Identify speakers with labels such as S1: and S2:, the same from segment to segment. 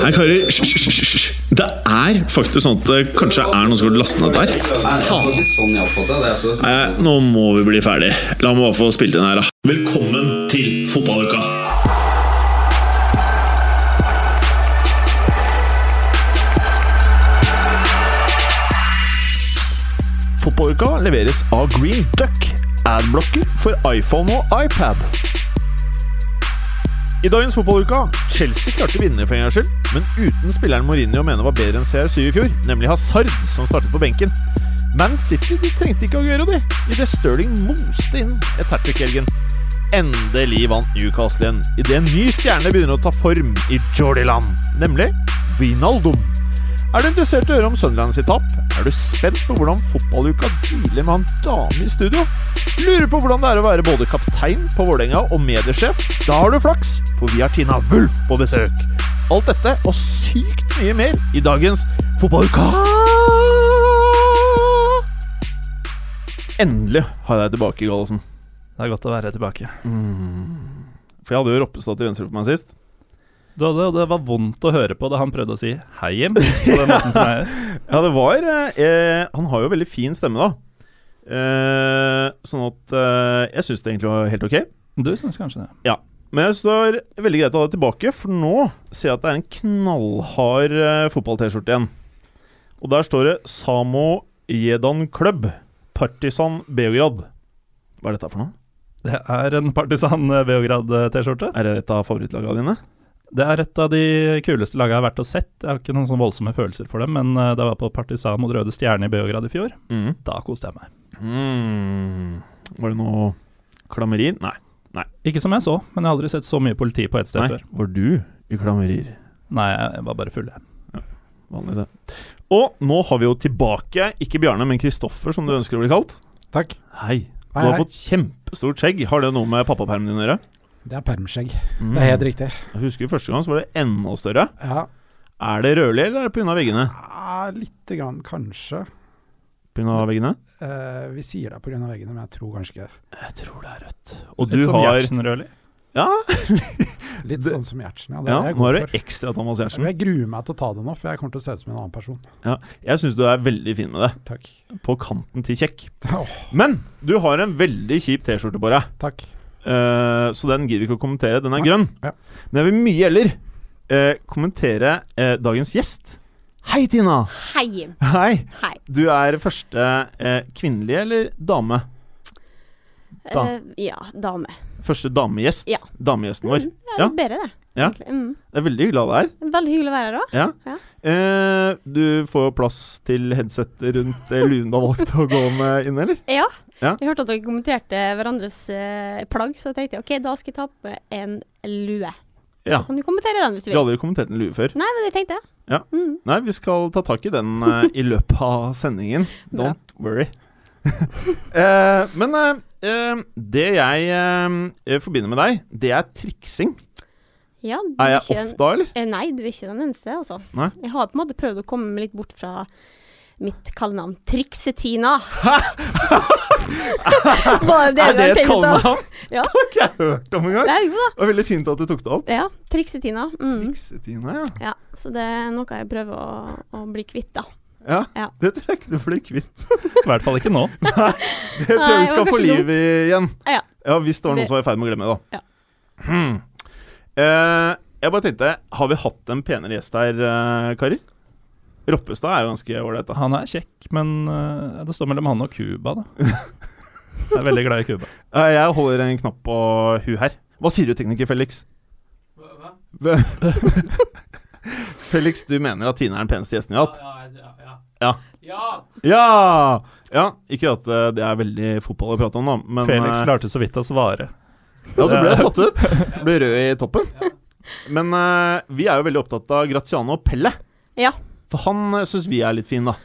S1: Nei, karer, hysj, hysj, hysj, hysj. Det er faktisk sånn at det kanskje er noen som har lastet ned der.
S2: Nei, det var ikke sånn jeg oppfattet det. Altså.
S1: Nei, nå må vi bli ferdig. La meg bare få spilt inn her, da. Velkommen til fotballuka!
S3: Fotballuka leveres av Green Duck, adblocker for iPhone og iPad. I dagens fotballuka Chelsea klarte å vinne for en gangs skyld, men uten spilleren Mourinho mener var bedre enn CR7 i fjor, nemlig Hazard, som startet på benken. Man City de trengte ikke å gjøre det, idet Stirling moste inn et hat trick i helgen. Endelig vant Newcastle igjen, idet en ny stjerne begynner å ta form i Jordiland, nemlig Vinaldum. Er du interessert i å høre om Sunderland sitt tap? Er du spent på hvordan fotballuka dealer med han dame i studio? Lurer på hvordan det er å være både kaptein på Vålerenga og mediesjef? Da har du flaks, for vi har Tina Wulf på besøk. Alt dette og sykt mye mer i dagens Fotballuka! Endelig har jeg deg tilbake, Gallosen. Mm.
S4: Det er godt å være tilbake.
S3: For jeg hadde jo Roppestad til venstre for meg sist.
S4: Du hadde, og det var vondt å høre på da han prøvde å si 'hei hjem' på den måten som jeg gjør.
S3: Ja, det var eh, Han har jo veldig fin stemme, da. Eh, sånn at eh, jeg syns det egentlig var helt ok.
S4: Du syns kanskje det.
S3: Men jeg syns det var veldig greit å ha det tilbake, for nå ser jeg at det er en knallhard eh, fotball-T-skjorte igjen. Og der står det Samo Jedan Club, Partisan Beograd. Hva er dette for noe?
S4: Det er en Partisan eh, Beograd-T-skjorte.
S3: Er det et av favorittlagene dine?
S4: Det er et av de kuleste lagene jeg har vært og sett. Jeg har ikke noen sånn voldsomme følelser for dem, men eh, da jeg var på Partisan mot Røde Stjerne i Beograd i fjor,
S3: Mm.
S4: da koste jeg meg.
S3: Mm. Var det noe klammeri? Nei.
S4: Ikke som jeg så, men jeg har aldri sett så mye politi på ett sted
S3: Nei.
S4: før.
S3: Var du i klammerier?
S4: Nei, jeg var bare full, jeg.
S3: Vanlig det. Og nå har vi jo tilbake, ikke Bjarne, men Kristoffer, som du ønsker å bli kalt.
S5: Takk.
S3: Hei. Du
S5: Hei,
S3: har
S5: hei.
S3: fått kjempestort skjegg. Har det noe med pappapermen din å gjøre?
S5: Det er permskjegg.
S3: Mm.
S5: Det er helt riktig.
S3: Jeg husker første gang så var det enda større.
S5: Ja,
S3: Er det rødlig, eller er det pga. veggene?
S5: ah, lite grann, kanskje.
S3: Pga. veggene?
S5: Eh, vi sier det pga. veggene, men jeg tror kanskje ikke det.
S3: Jeg tror det er rødt. Og
S4: Litt sånn
S3: du
S4: som
S3: har
S4: Gjertsen Røli.
S5: Litt
S3: Det-
S5: sånn som Gjertsen, ja. Det
S3: ja,
S5: er jeg
S3: Nå
S5: god
S3: er
S5: for.
S3: du ekstra Thomas Giertsen.
S5: Jeg gruer meg til å ta det nå, for jeg kommer til å se ut som en annen person.
S3: Jeg syns du er veldig fin med det.
S5: Takk.
S3: På kanten til kjekk.
S5: Åh,
S3: Men du har en veldig kjip T-skjorte på deg,
S5: takk.
S3: eh, så den gidder vi ikke å kommentere. Den er
S5: Nei,
S3: grønn.
S5: ja.
S3: Men jeg vil mye heller eh, kommentere eh, dagens gjest. Hei, Tina!
S6: Hei.
S3: Hei.
S6: Hei.
S3: Du er første eh, kvinnelige eller dame? Da-
S6: Eh, ja, dame.
S3: Første damegjest?
S6: Ja. Mm,
S3: Damegjesten vår.
S6: Ja,
S3: Ja.
S6: Bedre, det.
S3: Ja.
S6: egentlig. Mm.
S3: Jeg er veldig glad det er.
S6: Veldig hyggelig å være her òg.
S3: Ja.
S6: Ja.
S3: Eh, du får plass til headsetet rundt det luen du har valgt å gå med inn, eller?
S6: Ja.
S3: Ja.
S6: Jeg hørte at dere kommenterte hverandres eh, plagg, så jeg tenkte OK, da skal jeg ta på meg en lue.
S3: Ja.
S6: Kan du kommentere den hvis du
S3: Vi har
S6: vil?
S3: aldri kommentert en lue før.
S6: Nei, men det tenkte jeg.
S3: Ja.
S6: Mm.
S3: Nei, vi skal ta tak i den eh, i løpet av sendingen.
S6: Bra.
S3: Don't worry. eh, men eh, eh, det jeg eh, forbinder med deg, det er triksing.
S6: Ja, du
S3: Er
S6: er
S3: jeg
S6: ikke
S3: off
S6: den-
S3: da, eller?
S6: Eh, Nei, du er ikke den eneste, altså.
S3: Nei.
S6: Jeg har på en måte prøvd å komme meg litt bort fra mitt kallenavn Triksetina. Bare det
S3: er det
S6: du
S3: et
S6: har tenkt, da.
S3: kallenavn?
S6: Ja.
S3: Det har ikke jeg hørt om engang.
S6: Nei, jo da.
S3: Det var veldig fint at du tok det opp.
S6: Ja, Triksetina. Mm.
S3: Triksetina, ja.
S6: Ja, så det er noe jeg prøver å, å bli kvitt, da.
S3: ja.
S6: Ja.
S3: Det tror jeg ikke du blir kvitt.
S4: I hvert fall ikke nå.
S3: Det tror
S6: Nei,
S3: jeg vi
S6: det
S3: skal
S6: var
S3: få
S6: kanskje
S3: liv
S6: dumt.
S3: i igjen.
S6: Ja.
S3: hvis det var noen
S6: Det-
S3: som var i ferd med å glemme det, da.
S6: Ja.
S3: Hmm. Eh, jeg bare tenkte, har vi hatt en penere gjest her, eh, karer? Roppestad er jo ganske ålreit, da.
S4: Han er kjekk, men eh, det står mellom han og Cuba, da. Jeg er veldig glad i Cuba.
S3: Eh, jeg holder en knapp på hu her. Hva sier du, tekniker Felix? Hva? Felix, du mener at Tine er den peneste gjesten vi har hatt? Ja. Ja! ja! Ikke at eh, det er veldig fotball å prate om, da, men
S4: Felix
S3: eh,
S4: klarte så vidt å svare.
S3: Ja, du ble satt ut. Du ble rød i toppen. Men eh, vi er jo veldig opptatt av Graziano og Pelle.
S6: Ja.
S3: For han uh, syns vi er litt fin, da.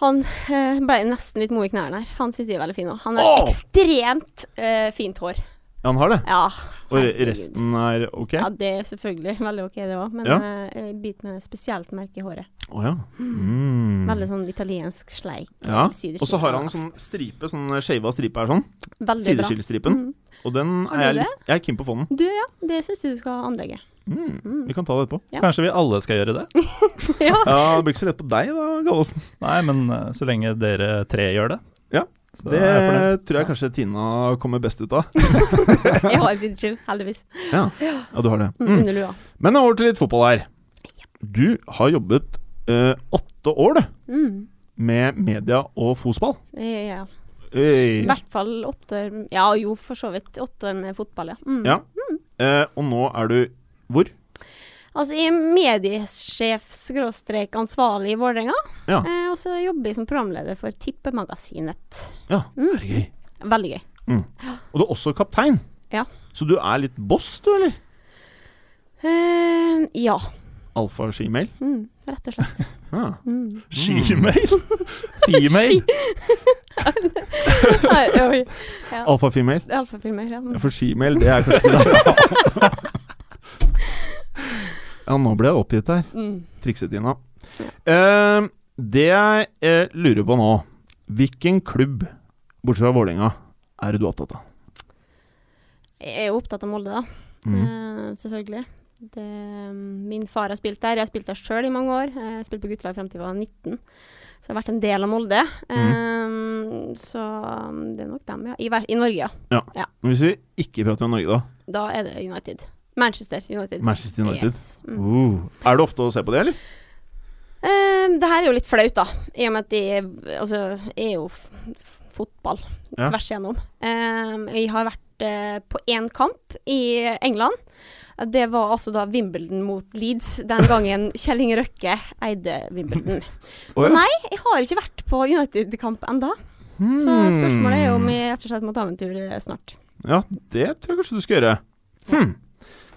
S6: Han eh, ble nesten litt mo i knærne her. Han syns de er veldig fine òg. Han har
S3: Åh!
S6: ekstremt eh, fint hår.
S3: Ja, han har det.
S6: Ja.
S3: Og
S6: herregud.
S3: resten er ok?
S6: Ja, det er selvfølgelig veldig OK, det òg, men
S3: Ja.
S6: eh, bit med spesielt merke i håret.
S3: Å ja. Mm.
S6: Veldig sånn italiensk sleik. eh,
S3: Ja.
S6: sideskille.
S3: Og så har han sånn stripe, sånn shava stripe her sånn.
S6: Veldig bra.
S3: Sideskillestripen.
S6: Mm.
S3: Og den er
S6: Har
S3: jeg
S6: du det?
S3: litt Jeg er keen på å få den.
S6: Du, ja. Det syns du skal anlegge.
S4: Mm.
S6: Mm.
S4: Vi kan ta det etterpå.
S6: Ja.
S4: Kanskje vi alle skal gjøre det?
S6: Ja.
S3: Ja, det blir ikke så lett på deg da, Gallosen.
S4: Nei, men eh, så lenge dere tre gjør det.
S3: Ja,
S4: så
S3: Det
S4: er jeg fornøyd.
S3: tror jeg kanskje Tina kommer best ut av.
S6: Jeg har sideskill, heldigvis.
S3: Ja, ja du har det.
S6: Mm,
S3: Mm.
S6: Under lua.
S3: Men over til litt fotball her. Du har jobbet eh, åtte år, du,
S6: Mm.
S3: med media og fotball.
S6: Ja, ja, ja. I
S3: Øy.
S6: hvert fall åtte Ja, jo, for så vidt. Åtte med fotball, ja. Mm.
S3: Ja. Eh, og nå er du hvor?
S6: Altså, jeg er mediesjef-ansvarlig i Vålerenga.
S3: Ja.
S6: Eh, og så jobber jeg som programleder for Tippemagasinet.
S3: Ja, det er gøy.
S6: Veldig gøy.
S3: Og du er også kaptein.
S6: Ja.
S3: Så du er litt boss, du, eller?
S6: Eh, ja.
S3: Alfa skimail?
S6: Mm, rett og slett.
S3: Ah.
S6: Mm.
S4: Shemale? Female?
S6: Nei, oi.
S3: Ah. Alfa female?
S6: Alfafilmer, ja. Mm.
S3: Ja, for skimail, det er kanskje Ja, nå ble jeg oppgitt her.
S6: Mm.
S3: Triksetina. Eh, det jeg eh, lurer på nå Hvilken klubb, bortsett fra Vålerenga, er det du er opptatt av?
S6: Jeg er jo opptatt av Molde, da.
S3: Mm.
S6: Eh, selvfølgelig. Det, mm, min far har spilt der. Jeg har spilt der sjøl i mange år. Eh, Jeg spilte på guttelag frem til jeg var 19. Så jeg har vært en del av Molde.
S3: Mm.
S6: Eh, så det er nok dem, ja. I, ver- i Norge, ja.
S3: Men Hvis vi ikke prater om Norge, da.
S6: Da er det United. Manchester United.
S3: Manchester United.
S6: Yes. Mm.
S3: Uh, er det ofte å se på det, eller?
S6: Eh, det her er jo litt flaut, da. I og med at jeg altså, jeg er jo f f fotball
S3: Ja.
S6: tvers igjennom. Eh, jeg har vært eh, på én kamp i England. Det var altså da Wimbledon mot Leeds, den gangen Kjell Inge Røkke eide Wimbledon.
S3: Å
S6: Så
S3: ja.
S6: nei, jeg har ikke vært på United-kamp enda Så
S3: Hmm.
S6: spørsmålet er jo om jeg rett og slett må ta meg en tur eh, snart.
S3: Ja, det tror jeg kanskje du skal gjøre. Hm.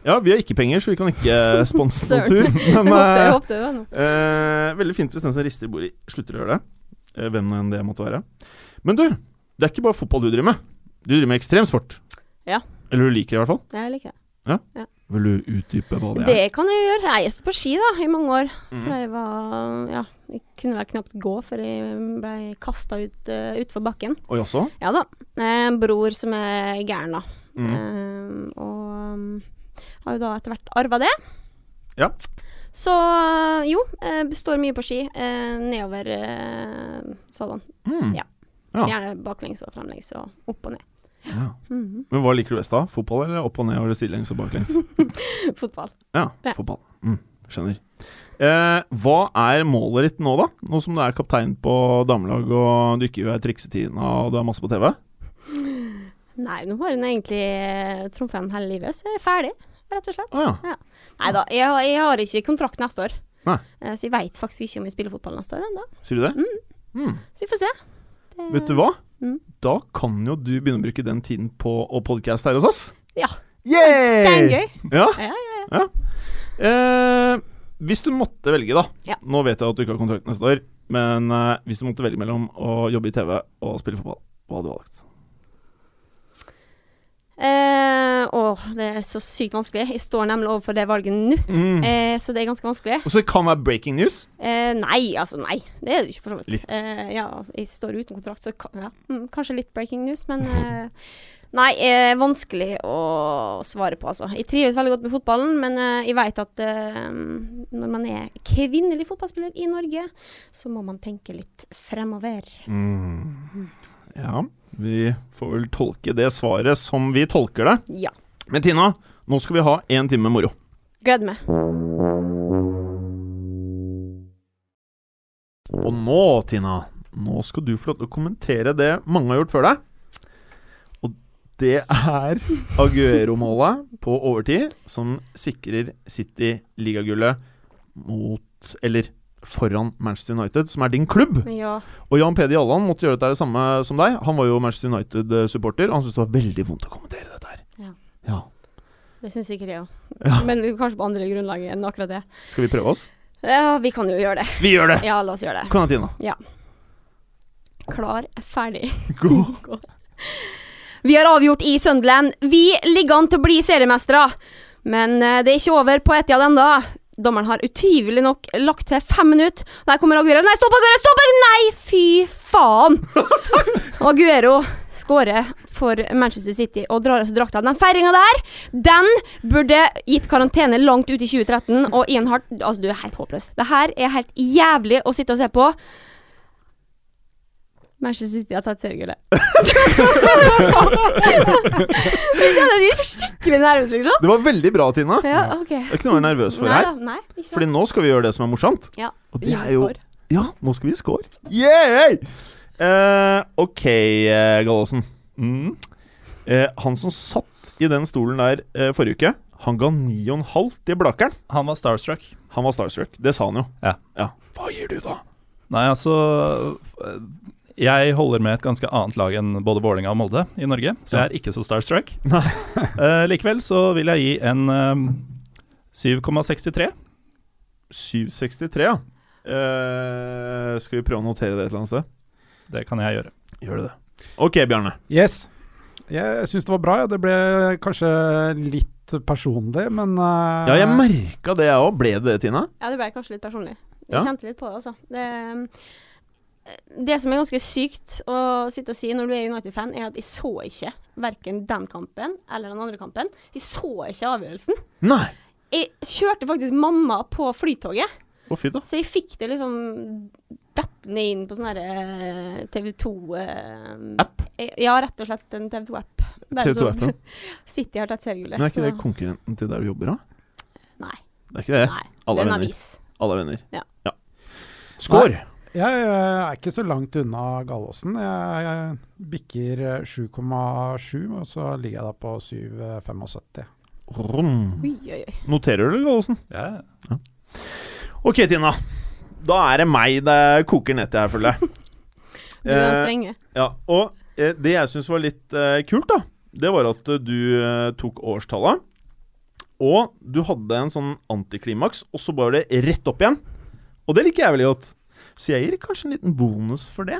S3: Ja, vi har ikke penger, så vi kan ikke eh, sponse noen tur. Men
S6: Jeg håpte, jeg
S3: eh,
S6: håpte det nå.
S3: eh, veldig fint hvis den som rister i bordet, slutter å gjøre det. Eh, hvem enn det måtte være. Men du, det er ikke bare fotball du driver med. Du driver med ekstremsport.
S6: Ja.
S3: Eller du liker det, i hvert fall.
S6: Jeg liker det.
S3: Vil du utdype hva det er?
S6: Det kan jeg jo gjøre. Jeg har stått på ski da, i mange år.
S3: Mhm.
S6: For jeg var Ja, jeg kunne vel knapt gå før jeg ble kasta ut, eh, utfor bakken.
S3: Oi, også?
S6: Ja da. Eh, En bror som er gæren, da.
S3: Mm.
S6: Eh, og um, har jo da etter hvert arva det.
S3: Ja.
S6: Så jo, eh, står mye på ski. Eh, nedover eh, sådan.
S3: Mm.
S6: Ja.
S3: Ja.
S6: Gjerne baklengs og fremlengs og opp og ned.
S3: Ja.
S6: Mhm.
S3: Men hva liker du best da? Fotball eller opp og ned og sidelengs og baklengs?
S6: Fotball.
S3: Ja,
S6: Ja.
S3: fotball. Mm, skjønner. Eh, hva er målet ditt nå, da? Nå som du er kaptein på damelag og du ikke er triksetina og du er masse på TV?
S6: Nei, nå har hun egentlig trumfa den hele livet, så jeg er ferdig, rett og slett.
S3: Å ja.
S6: Nei da, jeg, har- jeg har ikke kontrakt neste år.
S3: Nei.
S6: Eh, Så jeg veit faktisk ikke om jeg spiller fotball neste år ennå.
S3: Sier du det? Mm.
S6: Så vi får se. Det-
S3: Vet du hva?
S6: Mm.
S3: Da kan jo du begynne å bruke den tiden på å podcaste her hos oss.
S6: Ja.
S3: Yay!
S6: Steingøy.
S3: Ja.
S6: Ja,
S3: Eh, hvis du måtte velge, da.
S6: Ja.
S3: Nå vet jeg at du ikke har kontrakt neste år, men eh, hvis du måtte velge mellom å jobbe i TV og spille fotball, hva hadde du valgt?
S6: Eh, åh, det er så sykt vanskelig. Jeg står nemlig overfor det valget nå,
S3: Mm.
S6: eh, så det er ganske vanskelig.
S3: Og så kan det være breaking news.
S6: Eh, nei, altså nei. Det er det jo ikke, for så vidt.
S3: Litt.
S6: Eh, ja, altså, jeg står uten kontrakt, så ka- ja. mm, kanskje litt breaking news, men eh, Nei, eh, vanskelig å svare på, altså. Jeg trives veldig godt med fotballen, men eh, jeg veit at eh, når man er kvinnelig fotballspiller i Norge, så må man tenke litt fremover. Mm.
S3: Ja, vi får vel tolke det svaret som vi tolker det.
S6: Ja.
S3: Men Tina, nå skal vi ha én time moro.
S6: Gleder meg.
S3: Og nå, Tina, nå skal du få lov til å kommentere det mange har gjort før deg. Og det er Aguero-målet på overtid som sikrer City ligagullet mot, eller foran Manchester United, som er din klubb.
S6: Ja.
S3: Og Jan Peder Jalland måtte gjøre dette det samme som deg. Han var jo Manchester United-supporter. Han syntes det var veldig vondt å kommentere dette her.
S6: Ja.
S3: ja.
S6: Det syns sikkert jeg òg.
S3: Ja.
S6: Men kanskje på andre grunnlag enn akkurat det.
S3: Skal vi prøve oss?
S6: Ja, vi kan jo gjøre det.
S3: Vi gjør det!
S6: Ja, la oss gjøre det.
S3: Kom igjen, Tina.
S6: Klar, ferdig.
S3: Gå.
S6: Vi har avgjort i Sunderland. Vi ligger an til å bli seriemestere. Men eh, det er ikke over på Etiad ennå. Dommeren har utrivelig nok lagt til fem minutter. Der kommer Aguero. Nei, stopp Aguero! Stopp! Nei, fy faen! Aguero skårer for for Manchester City og drar av seg drakta. Den feiringa der, den burde gitt karantene langt ut i 2013. Og Ian Hart Altså, du er helt håpløs. Det her er helt jævlig å sitte og se på. Manchester City har tatt seriegullet. Jeg kjenner de er skikkelig nervøse, liksom.
S3: Det var veldig bra, Tina. Det
S6: Ja, ok.
S3: er ikke noe å være nervøs for
S6: Nei
S3: her.
S6: da, nei. Ikke sant.
S3: Fordi nå skal vi gjøre det som er morsomt.
S6: Ja,
S3: Og det
S6: livet
S3: er jo
S6: går.
S3: Ja, nå skal vi score. Yeah! Eh, ok, eh, Gallosen.
S4: Mm.
S3: Eh, han som satt i den stolen der eh, forrige uke, han ga 9,5 til Blakeren.
S4: Han var starstruck.
S3: Han var starstruck. Det sa han jo.
S4: Ja.
S3: Hva gir du, da?
S4: Nei, altså øh, Jeg holder med et ganske annet lag enn både Vålerenga og Molde i Norge, så jeg er ikke så starstruck.
S3: Nei.
S4: Eh, likevel så vil jeg gi en eh, 7,63.
S3: 7,63, ja. Eh, skal vi prøve å notere det et eller annet sted?
S4: Det kan jeg gjøre.
S3: Gjør du det? Ok, Bjarne.
S5: Yes. Jeg syns det var bra. Ja. Det ble kanskje litt personlig, men eh,
S3: Ja, jeg
S6: Ah.
S3: merka det, jeg òg. Ble det det, Tina?
S6: Ja, det ble kanskje litt personlig. Jeg
S3: Ja.
S6: kjente litt på det, altså. Det, eh, det som er ganske sykt å sitte og si når du er United-fan, er at jeg så ikke verken den kampen eller den andre kampen. Jeg så ikke avgjørelsen.
S3: Nei.
S6: Jeg kjørte faktisk mamma på flytoget,
S3: Å, fy da.
S6: så jeg fikk det liksom dettende inn på sånn herre TV 2
S3: App?
S6: eh, Ja, rett og slett en TV 2-app.
S3: TV2-appen.
S6: liksom City har tatt seriegullet.
S3: Men er ikke
S6: så-
S3: det konkurrenten til der du jobber, da?
S6: Nei.
S3: Det er ikke det?
S6: Nei.
S3: Alle
S6: det er en
S3: venner.
S6: avis.
S3: Alle er venner.
S6: Ja.
S3: Skår!
S5: jeg eh, er ikke så langt unna Gallåsen. Jeg, jeg bikker eh, 7,7, og så ligger jeg da på eh, 7,75.
S3: Rom.
S6: Oi, oi, oi.
S3: Noterer du det, Gallosen?
S4: Jeg
S3: Ok, Tina. Da er det meg det koker ned til her, føler jeg.
S6: Du er den
S3: Eh,
S6: strenge.
S3: Ja, og eh, det jeg syns var litt eh, kult, da, det var at eh, du eh, tok årstallet. Og du hadde en sånn antiklimaks, og så var det rett opp igjen. Og det liker jeg veldig godt. Så jeg gir kanskje en liten bonus for det.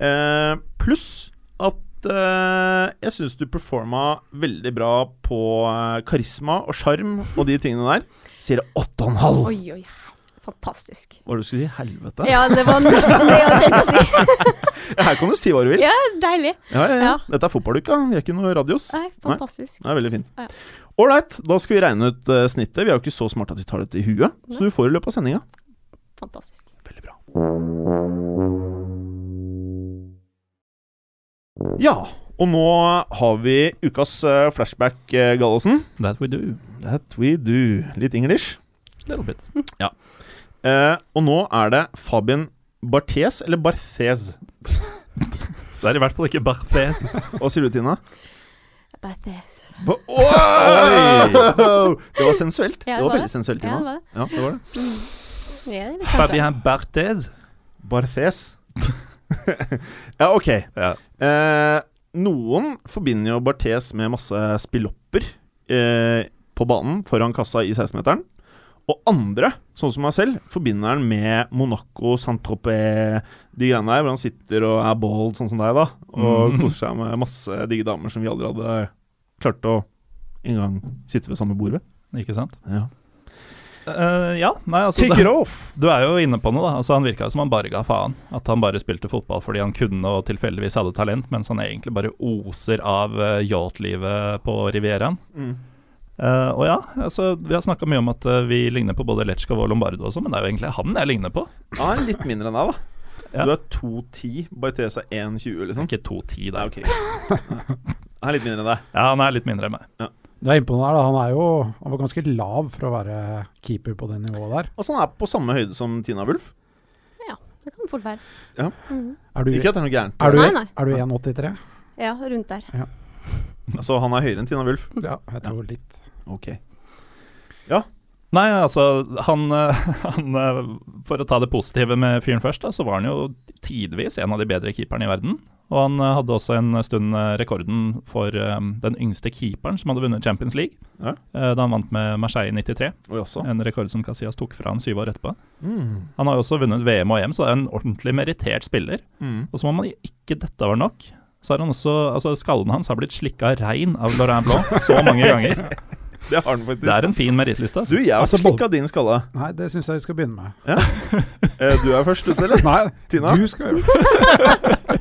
S3: Eh, Pluss at eh, jeg syns du performa veldig bra på eh, karisma og sjarm og de tingene der. Sier det åtte og en halv.
S6: Oi, oi, her- fantastisk.
S3: Hva var det du skulle si? Helvete?
S6: Ja, det var nesten det jeg tenkte å si.
S3: Her kan du si hva du vil.
S6: Ja, deilig.
S3: Ja, ja, ja.
S6: Ja.
S3: Dette er fotballuka, vi er ikke noe radios.
S6: Nei, fantastisk.
S3: Det er veldig fint.
S6: Ja.
S3: Ålreit, da skal vi regne ut eh, snittet. Vi er jo ikke så smarte at vi tar dette i huet, så du får i løpet av sendinga.
S6: Fantastisk.
S3: Veldig bra. Ja, og nå har vi ukas eh, flashback, eh, Gallosen.
S4: That we do.
S3: That we do. Litt English.
S4: Little bit.
S3: Eh, og nå er det Fabian Barthes, eller Barthes.
S4: Det er i hvert fall ikke Barthes.
S3: Hva sier du, Tina?
S6: Badass.
S3: Ba Wow! Det var sensuelt. det var
S6: Ja, det var
S3: veldig sensuelt.
S6: Ja, det
S3: Tina.
S6: var det.
S3: Ja, det var det.
S6: Ja, det er kanskje.
S4: Fabian Barthez.
S3: Barthes. ja, ok.
S4: Ja.
S3: Eh, noen forbinder jo Barthes med masse spillopper eh, på banen foran kassa i 16-meteren. Og andre, sånn som meg selv, forbinder han med Monaco, Saint-Tropez, de greiene der, hvor han sitter og er bald, sånn som deg, da, og
S4: Mm.
S3: koser seg med masse digge damer som vi aldri hadde klart å engang sitte ved samme bord ved.
S4: Ikke sant?
S3: Ja.
S4: Eh, ja, nei, altså
S3: Take
S4: det-
S3: it off!
S4: Du er jo inne på noe, da. Altså, han virka som han bare ga faen. At han bare spilte fotball fordi han kunne og tilfeldigvis hadde talent, mens han egentlig bare oser av eh, yachtlivet på Rivieraen. Eh, og ja, altså, vi har snakka mye om at eh, vi ligner på både Lechkov og Lombardo og sånn, men det er jo egentlig han jeg ligner på.
S3: Ja, han er litt mindre enn deg, da.
S4: Ja.
S3: Du er 2,10, Barthes er 1,20,
S4: Det er
S3: liksom.
S4: Ikke 2,10
S3: Nei,
S4: der.
S3: ok. Han er litt mindre enn deg.
S4: Ja, han er litt mindre enn meg.
S5: Du er imponert. da. Han er jo han var ganske lav for å være keeper på det nivået der.
S3: Altså, han er på samme høyde som Tina Wulf.
S6: Det kan fort være.
S3: Ja.
S6: Mhm.
S5: Er du,
S3: Ikke at det er noe gærent.
S5: er du,
S6: Nei, nei.
S5: er du 1,83?
S6: Ja, rundt der.
S3: Altså, han er høyere enn Tina Wulf.
S5: Ja, jeg tror litt.
S3: Ok.
S4: Nei, altså, han, eh, han eh, For å ta det positive med fyren først, da, så var han jo tidvis en av de bedre keeperne i verden. Og han eh, hadde også en stund eh, rekorden for eh, den yngste keeperen som hadde vunnet Champions League,
S3: Ja.
S4: eh, da han vant med Marseille i 93.
S3: Oi, også.
S4: En rekord som Casillas tok fra han syv år etterpå.
S3: Mm.
S4: Han har jo også vunnet VM og EM, så er han en ordentlig merittert spiller.
S3: Mm.
S4: Og som om han ikke dette var nok, så har han også Altså, skallen hans har blitt slikka rein av Laurent Blanc så mange ganger.
S3: Det har han faktisk.
S4: Det er en fin merittliste.
S3: Du,
S4: Altså.
S3: jeg har
S5: Altså,
S3: slikka din skalle.
S5: Nei, det syns jeg vi skal begynne med.
S3: Eh, Du er først ute, eller?
S5: Nei,
S3: Tina?
S5: du skal gjøre det.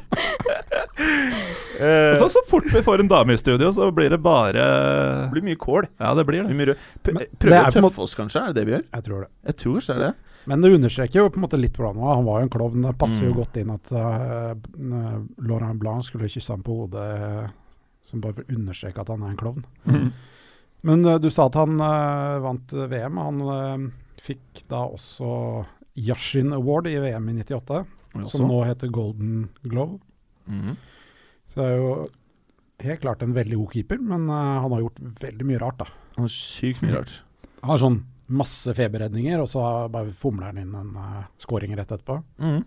S3: Eh,
S4: Så, så fort vi får en dame i studio, så blir det bare
S3: det blir mye kål. det
S4: Ja, det blir det.
S3: blir mye rød. P
S5: Men det
S3: prøver å
S5: er på en måte-
S3: tøffe oss, kanskje? Er det det vi gjør?
S5: Jeg tror det.
S3: Jeg tror kanskje det er det.
S5: Men det understreker jo på en måte litt hvordan han var. Han var jo en klovn. Det passer jo
S4: Mm.
S5: godt inn at eh, eh, Laurent Blanc skulle kysse ham på hodet, eh, som bare for å understreke at han er en klovn.
S4: Mm.
S5: Men eh, du sa at han eh, vant eh, VM. Han eh, fikk da også Yashin Award i VM i 98, som nå heter Golden Glove. Mm.
S3: Mhm.
S5: Så det er jo helt klart en veldig god keeper, men eh, han har gjort veldig mye rart, da.
S3: Han er sykt
S5: Mm.
S3: mye rart.
S5: Han har sånn masse feberredninger, og så bare fomler han inn en uh, scoring rett etterpå.
S3: Mhm.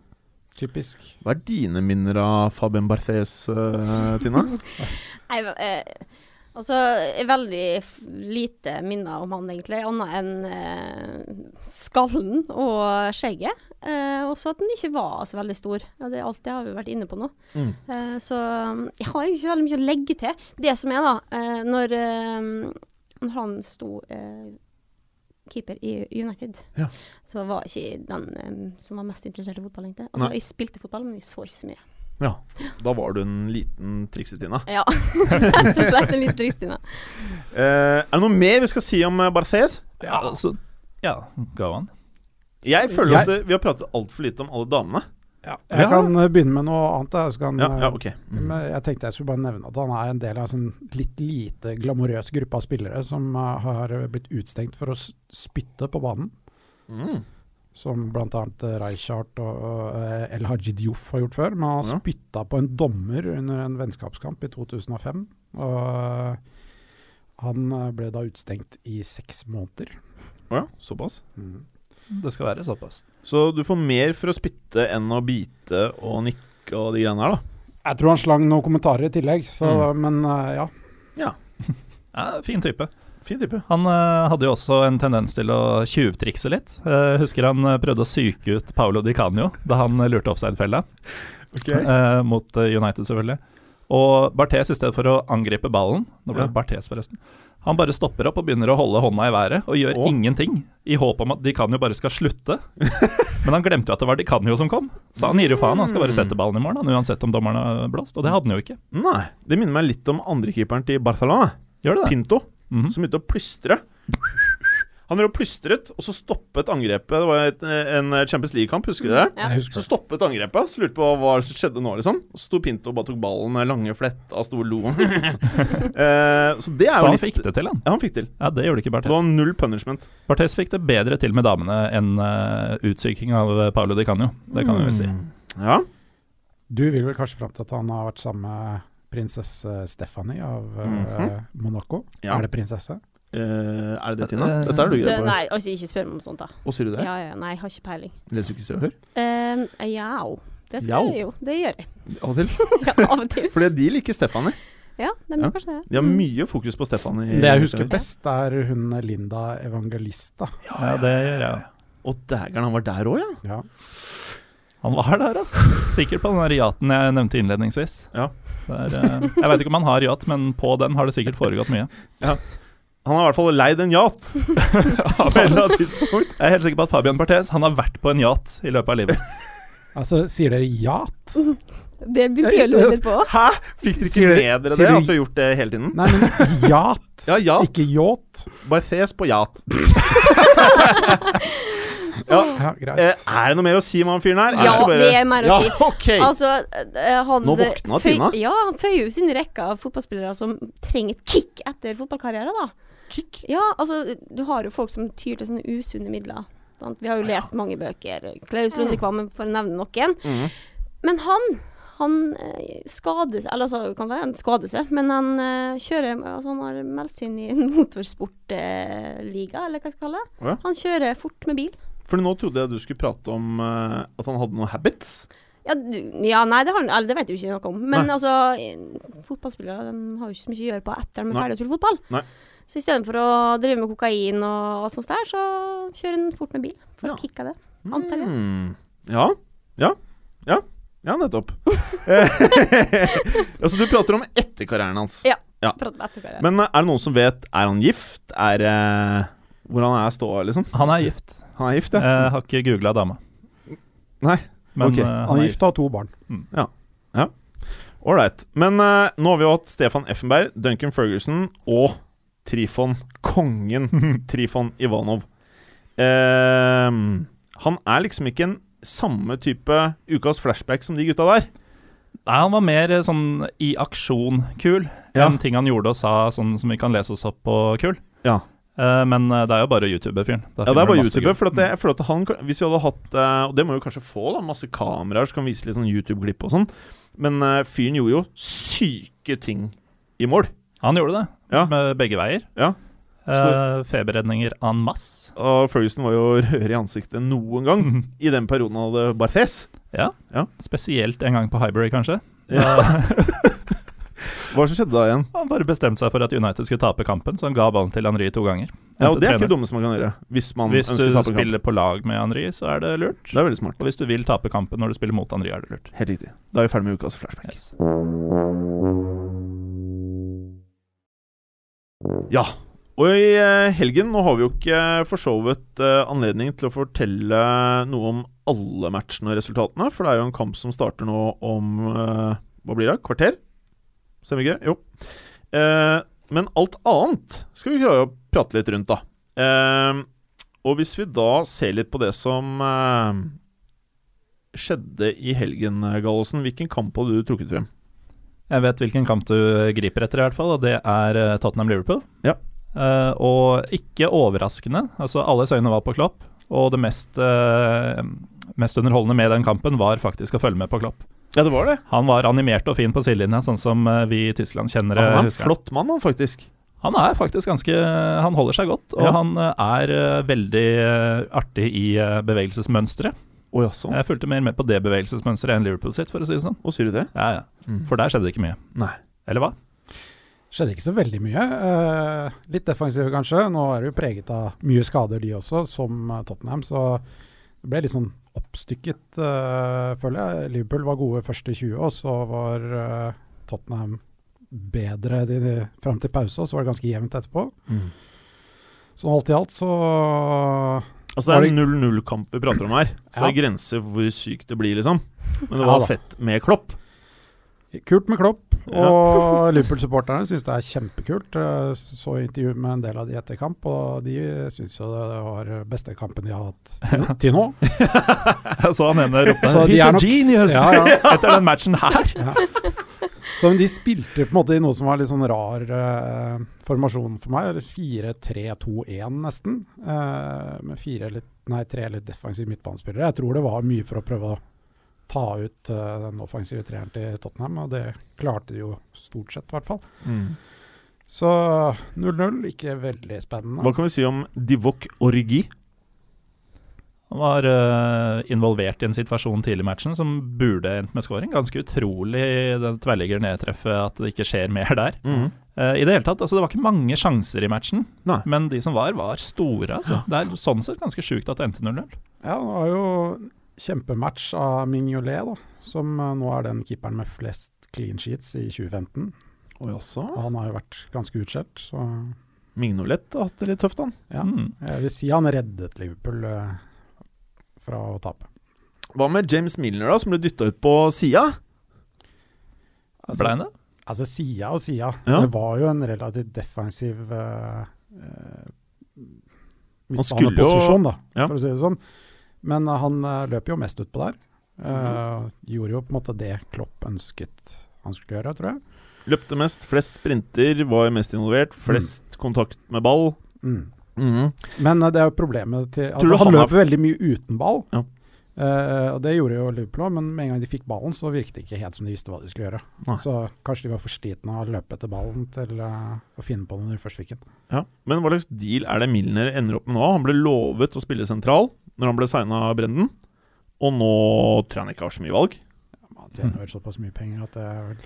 S5: Typisk.
S3: Hva er dine minner av Fabien Barthes, eh, Tina?
S6: Jeg, eh, altså, jeg er veldig f- lite minner om han, egentlig, annet enn eh, skallen og skjegget. Eh, og så at han ikke var så veldig stor. Ja, det, alt det har vi vært inne på nå.
S3: Mm.
S6: Eh, så mm, jeg har ikke så veldig mye å legge til. Det som er, da, eh, når, eh, når han sto eh, keeper i United,
S3: Ja.
S6: så var jeg ikke den eh, som var mest interessert i fotball, egentlig. Altså,
S3: Nei.
S6: jeg spilte fotball, men jeg så ikke så mye.
S3: Ja. Da var du en liten triksetina.
S6: Ja, rett og slett en liten Kristina.
S3: Eh, er det noe mer vi skal si om eh, Barthes?
S4: Ja, så Ja, go on.
S3: Jeg føler
S5: Jeg-
S3: at eh, vi har pratet altfor lite om alle damene.
S5: Ja, jeg
S4: Ja.
S5: kan eh, begynne med noe annet. Jeg, så kan,
S3: Ja, ja
S5: eh,
S3: ok. Mm.
S5: men jeg tenkte jeg skulle bare nevne at han er en del av en sånn litt lite glamorøs gruppe av spillere som eh, har blitt utstengt for å s- spytte på banen.
S3: Mm.
S5: Som bl.a. Reichardt og eh, El Haji Diouf har gjort før. Men han
S3: Ja.
S5: har spytta på en dommer under en vennskapskamp i 2005. Og eh, han eh, ble da utstengt i seks måneder.
S3: Å ja, såpass.
S5: Mm.
S4: Det skal være såpass.
S3: Så du får mer for å spytte enn å bite og nikke og de greiene her, da.
S5: Jeg tror han slang noen kommentarer i tillegg, så, men eh, ja.
S4: Ja, fin type. Fin type. Han eh, hadde jo også en tendens til å tjuvtrikse litt. Eh, husker han eh, prøvde å psyke ut Paolo Di Canio da han eh, lurte offside-fella, eh, mot eh, United selvfølgelig. Og Barthes, i stedet for å angripe ballen Nå ble det
S3: Ja.
S4: Barthes, forresten. Han bare stopper opp og begynner å holde hånda i været og gjør
S3: Å.
S4: ingenting, i håp om at Di Canio bare skal slutte. Men han glemte jo at det var Di Canio som kom, så han gir jo faen. Han skal bare
S3: Mm.
S4: sette ballen i mål, han, uansett om dommeren har blåst. Og det hadde han jo ikke.
S3: Nei. Det minner meg litt om andrekeeperen til Barcelona,
S4: Gjør det det?
S3: Pinto,
S4: Mhm.
S3: som begynte å plystre. Han drev og plystret, og så stoppet angrepet. Det var et, en Champions League-kamp, husker dere? det?
S6: Ja.
S3: Så
S5: Jeg husker det.
S3: stoppet angrepet, så lurte på hva som skjedde nå, liksom. Og så sto Pinto og bare tok ballen med lange fletta, stor lo. Eh, så det er
S4: Så
S3: jo
S4: han
S3: litt
S4: fikk det til, han.
S3: Ja, han fikk til.
S4: Ja, Det gjorde ikke
S3: Det
S4: Barthes.
S3: var null punishment.
S4: Barthes fikk det bedre til med damene enn uh, utsyking av eh, Paolo Di Canio. Det kan vi vel si.
S3: Mm.
S5: Mm.
S3: Ja.
S5: Du vil vel kanskje fram til at han har vært sammen med prinsesse Stephanie av eh,
S3: Mhm.
S5: Monaco?
S3: Ja.
S5: Er det prinsesse?
S3: Eh, er det det, Tina?
S4: Eh,
S3: Dette er du
S6: Det,
S3: greie på.
S6: nei, altså ikke spør meg om sånt, da.
S3: Å, sier du det?
S6: Ja, ja, nei, jeg har ikke peiling.
S3: Leser du ikke Se og Hør?
S6: Um, jau. Det skal
S3: Jau?
S6: jeg jo. Det gjør jeg.
S3: Av og til.
S6: Ja, av og til.
S3: Fordi de liker Stefanie.
S6: Ja,
S3: Ja.
S6: det må kanskje det.
S3: De har mye fokus på Stefanie.
S5: Det jeg husker best, er hun Linda Evangelista.
S4: Ja, det gjør jeg.
S3: Å, dægeren, han var der òg, ja.
S5: Ja.
S4: Han var der, altså. Sikker på den der yachten jeg nevnte innledningsvis.
S3: Ja.
S4: Det er, eh, jeg veit ikke om han har yacht, men på den har det sikkert foregått mye.
S3: Han har i hvert fall leid en yacht.
S4: På et eller annet tidspunkt. Jeg er helt sikker på at Fabian Barthes han har vært på en yacht i løpet av livet.
S5: Altså, sier dere yat?
S6: Det begynte jeg å lure litt på.
S3: Hæ? Fikk dere ikke
S5: Sier du-
S3: med dere det?
S5: sier du-
S3: At du har gjort det hele tiden?
S5: Nei, men yat,
S3: Ja, yacht.
S5: ikke yacht.
S3: Bare ses på yacht. ja.
S5: Ja, greit.
S3: Eh, er det noe mer å si om han fyren her?
S6: Ja,
S3: Eller skal
S6: det er mer å
S3: ja,
S6: si.
S3: ok.
S6: Altså, eh, han
S3: Nå våkna
S6: føy-
S3: Tina.
S6: Ja, han føyer jo sin rekke av fotballspillere som trenger et kick etter fotballkarriere, da.
S3: Kick?
S6: Ja, altså, du har jo folk som tyr til sånne usunne midler. Sant? Vi har jo lest mange bøker. Klaus Lundekvam, for å nevne noen.
S3: Mhm.
S6: Men han han eh, skader seg, eller altså, kan være han skader seg, men han eh, kjører altså, Han har meldt seg inn i en motorsportliga, eller hva jeg skal kalle det.
S3: Å ja.
S6: Han kjører fort med bil.
S3: For nå trodde jeg du skulle prate om eh, at han hadde noen habits.
S6: Ja, du, ja nei, det, har, han- eller, det vet jeg jo ikke noe om. Men
S3: Nei.
S6: altså, eh, fotballspillere de har jo ikke så mye å gjøre på etter de er
S3: Nei.
S6: ferdig å spille fotball.
S3: Nei.
S6: Så istedenfor å drive med kokain og alt sånt der, så kjører han fort med bil. For
S3: Ja.
S6: å kicke av det. Antar jeg.
S3: Mm. Ja. Ja. Ja, ja nettopp. Eh, altså, du prater om etter karrieren hans.
S6: Ja.
S3: Ja.
S6: Prate med etterpå, ja.
S3: Men eh, er det noen som vet Er han gift? Er eh, Hvordan er ståa, liksom?
S4: Han er gift.
S3: Han er gift,
S4: Jeg
S3: ja.
S4: har ikke googla dama.
S3: Nei,
S4: Men
S3: ok.
S4: eh,
S5: han er gift og har to barn.
S3: Ålreit. Men eh, nå har vi jo hatt Stefan Effenberg, Duncan Ferguson og Trifon Kongen. Trifon Ivanov. Ehm, han er liksom ikke en samme type ukas flashback som de gutta der.
S4: Nei, han var mer eh, sånn i aksjon-kul
S3: Ja.
S4: enn ting han gjorde og sa, sånn som vi kan lese oss opp på-kul.
S3: Ja.
S4: men eh, det er jo bare YouTube-fyren. Da
S3: Ja, det
S4: finner
S3: er
S4: du
S3: bare
S4: masse
S3: YouTube.
S4: gøy.
S3: For at jeg føler at han, kan- hvis vi hadde hatt eh, Og det må vi jo kanskje få, da. Masse kameraer som kan vise litt sånn YouTube-glipp og sånn. Men eh, fyren gjorde jo syke ting i mål.
S4: Mm. Han gjorde det,
S3: Ja.
S4: med begge veier.
S3: Ja.
S4: Eh, feberredninger en masse.
S3: Og Ferguson var jo rødere i ansiktet enn noen gang i den perioden han hadde Barthes.
S4: Spesielt en gang på Highbury, kanskje.
S3: Hva som skjedde da igjen?
S4: Han bare bestemte seg for at United skulle tape kampen, så han ga ballen til Henry to ganger.
S3: Ja, og Det er ikke
S4: Hentet trener.
S3: dumme som man kan gjøre. Hvis man
S4: Hvis
S3: ønsker å
S4: du
S3: tape kamp.
S4: spiller på lag med Henry, så er det lurt.
S3: Det er veldig smart.
S4: Og hvis du vil tape kampen når du spiller mot Henry, er det lurt.
S3: Helt riktig. Da er vi ferdig med ukas flashback.
S4: Yes.
S3: Ja. Og i eh, helgen Nå har vi jo ikke eh, for så vidt eh, anledning til å fortelle noe om alle matchene og resultatene, for det er jo en kamp som starter nå om eh, Hva blir det? Kvarter? Stemmer ikke det? Jo. Eh, men alt annet skal vi klare å prate litt rundt, da. Eh, og hvis vi da ser litt på det som eh, skjedde i helgen, eh, Gallosen, hvilken kamp hadde du trukket frem?
S4: Jeg vet hvilken kamp du griper etter, i hvert fall, og det er eh, Tottenham-Liverpool.
S3: Ja.
S4: Eh, og ikke overraskende, altså alles øyne var på Klopp, og det mest, eh, mest underholdende med den kampen var faktisk å følge med på Klopp.
S3: Ja, det var det.
S4: Han var animert og fin på sidelinja, sånn som eh, vi i Tyskland kjenner
S3: Han er en
S4: husker han.
S3: flott mann, han faktisk.
S4: Han er faktisk ganske Han holder seg godt, og
S3: Ja.
S4: han eh, er eh, veldig eh, artig i eh, bevegelsesmønsteret.
S3: Å ja, sånn.
S4: Jeg fulgte mer med på det bevegelsesmønsteret enn Liverpool sitt, for å si det sånn.
S3: Å, sier du det?
S4: Ja, ja.
S3: Mm.
S4: For der skjedde det ikke mye.
S3: Nei.
S4: Eller hva?
S5: Skjedde ikke så veldig mye. Eh, litt defensive, kanskje. Nå er det jo preget av mye skader, de også, som eh, Tottenham. Så det ble litt sånn oppstykket, eh, føler jeg. Liverpool var gode første 20, og så var eh, Tottenham bedre de, de, fram til pause, og så var det ganske jevnt etterpå.
S3: Mm.
S5: Så alt i alt så
S3: Altså
S5: Var
S3: Det
S5: det-
S3: er 0-0-kamp vi prater om her, så
S5: Ja.
S3: det er grenser for hvor sykt det blir, liksom. Men det
S5: Ja
S3: var
S5: da.
S3: fett med Klopp.
S5: Kult med Klopp, og
S3: Ja.
S5: Liverpool-supporterne syns det er kjempekult. Jeg Så intervju med en del av de etter kamp, og de syns jo det var beste kampen de har hatt til, til nå.
S4: Så han ene ropte
S5: Så de
S4: He's
S5: er
S4: a
S5: nok-
S4: genius!
S5: Ja, ja.
S4: Etter den matchen her.
S5: Så men de spilte på en måte i noe som var litt sånn rar eh, formasjon for meg. eller 4-3-2-1 nesten. eh, med fire litt, nei, tre litt defensive midtbanespillere. Jeg tror det var mye for å prøve å ta ut eh, den offensive treeren til Tottenham, og det klarte de jo stort sett, i hvert fall.
S3: Mm.
S5: Så 0-0, ikke veldig spennende.
S3: Hva kan vi si om Divok Orgi?
S4: Han var eh, involvert i en situasjon tidlig i matchen som burde endt med scoring. Ganske utrolig det tverrligger nedtreffet at det ikke skjer mer der.
S3: Mm.
S4: Eh, I det hele tatt, altså Det var ikke mange sjanser i matchen,
S3: Nei.
S4: men de som var, var store. altså. Det er sånn sett ganske sjukt at det endte 0-0.
S5: Ja, det var jo kjempematch av Mignolet, da, som eh, nå er den keeperen med flest clean sheets i 2015.
S3: Å jaså?
S5: Og han har jo vært ganske utskjelt, så
S3: Mignolet har hatt det litt tøft, han.
S5: Ja.
S4: Mm.
S5: Jeg vil si han reddet Liverpool eh, fra å tape.
S3: Hva med James Milner, da, som ble dytta ut på sida?
S5: Altså,
S4: Ble han det?
S5: altså sida og sida.
S3: Ja.
S5: Det var jo en relativt defensiv eh, eh,
S3: skulle jo-
S5: midtbaneposisjon, da,
S3: Ja.
S5: for å si det sånn. Men eh, han eh, løp jo mest utpå der. Eh,
S3: Mhm.
S5: Gjorde jo på en måte det Klopp ønsket han skulle gjøre, tror jeg.
S3: Løpte mest, flest sprinter, var mest involvert, flest kontakt med ball.
S5: Mm. Men eh, det er jo problemet til
S3: du
S5: altså, Han
S3: han har-
S5: løper veldig mye uten ball.
S3: Ja.
S5: Eh, og Det gjorde jo Liverpool òg, men med en gang de fikk ballen, så virket det ikke helt som de visste hva de skulle gjøre.
S3: Nei.
S5: Så kanskje de var for slitne av å løpe etter ballen til eh, å finne på det når de først fikk den.
S3: Ja. Men hva slags deal er det Milner ender opp med nå? Han ble lovet å spille sentral når han ble signa av Brenden, og nå tror jeg han ikke har så mye valg.
S5: Han tjener vel såpass mye penger at det er vel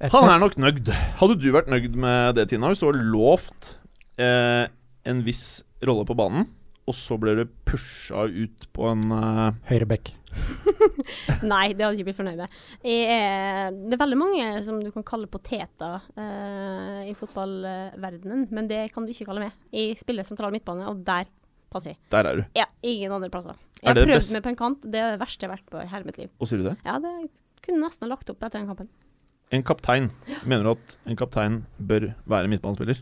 S5: Et
S3: Mm. Han er nok
S5: nett.
S3: nøgd. Hadde du vært nøgd med det, Tina, hvis du var lovt eh, en viss rolle på banen, og så ble du pusha ut på en eh,
S5: Høyre back.
S6: Nei, det hadde jeg ikke blitt fornøyd med. Jeg er, det er veldig mange som du kan kalle poteter eh, i fotballverdenen, men det kan du ikke kalle meg. Jeg spiller sentral midtbane, og der passer jeg.
S3: Der er du.
S6: Ja, ingen andre plasser.
S3: Er
S6: Jeg har
S3: det
S6: prøvd
S3: best-
S6: meg på en kant, det er det verste jeg har vært på i hele mitt liv.
S3: Og sier du det?
S6: Ja, det kunne nesten ha lagt opp etter den kampen.
S3: En kaptein. Mener du at en kaptein bør være midtbanespiller?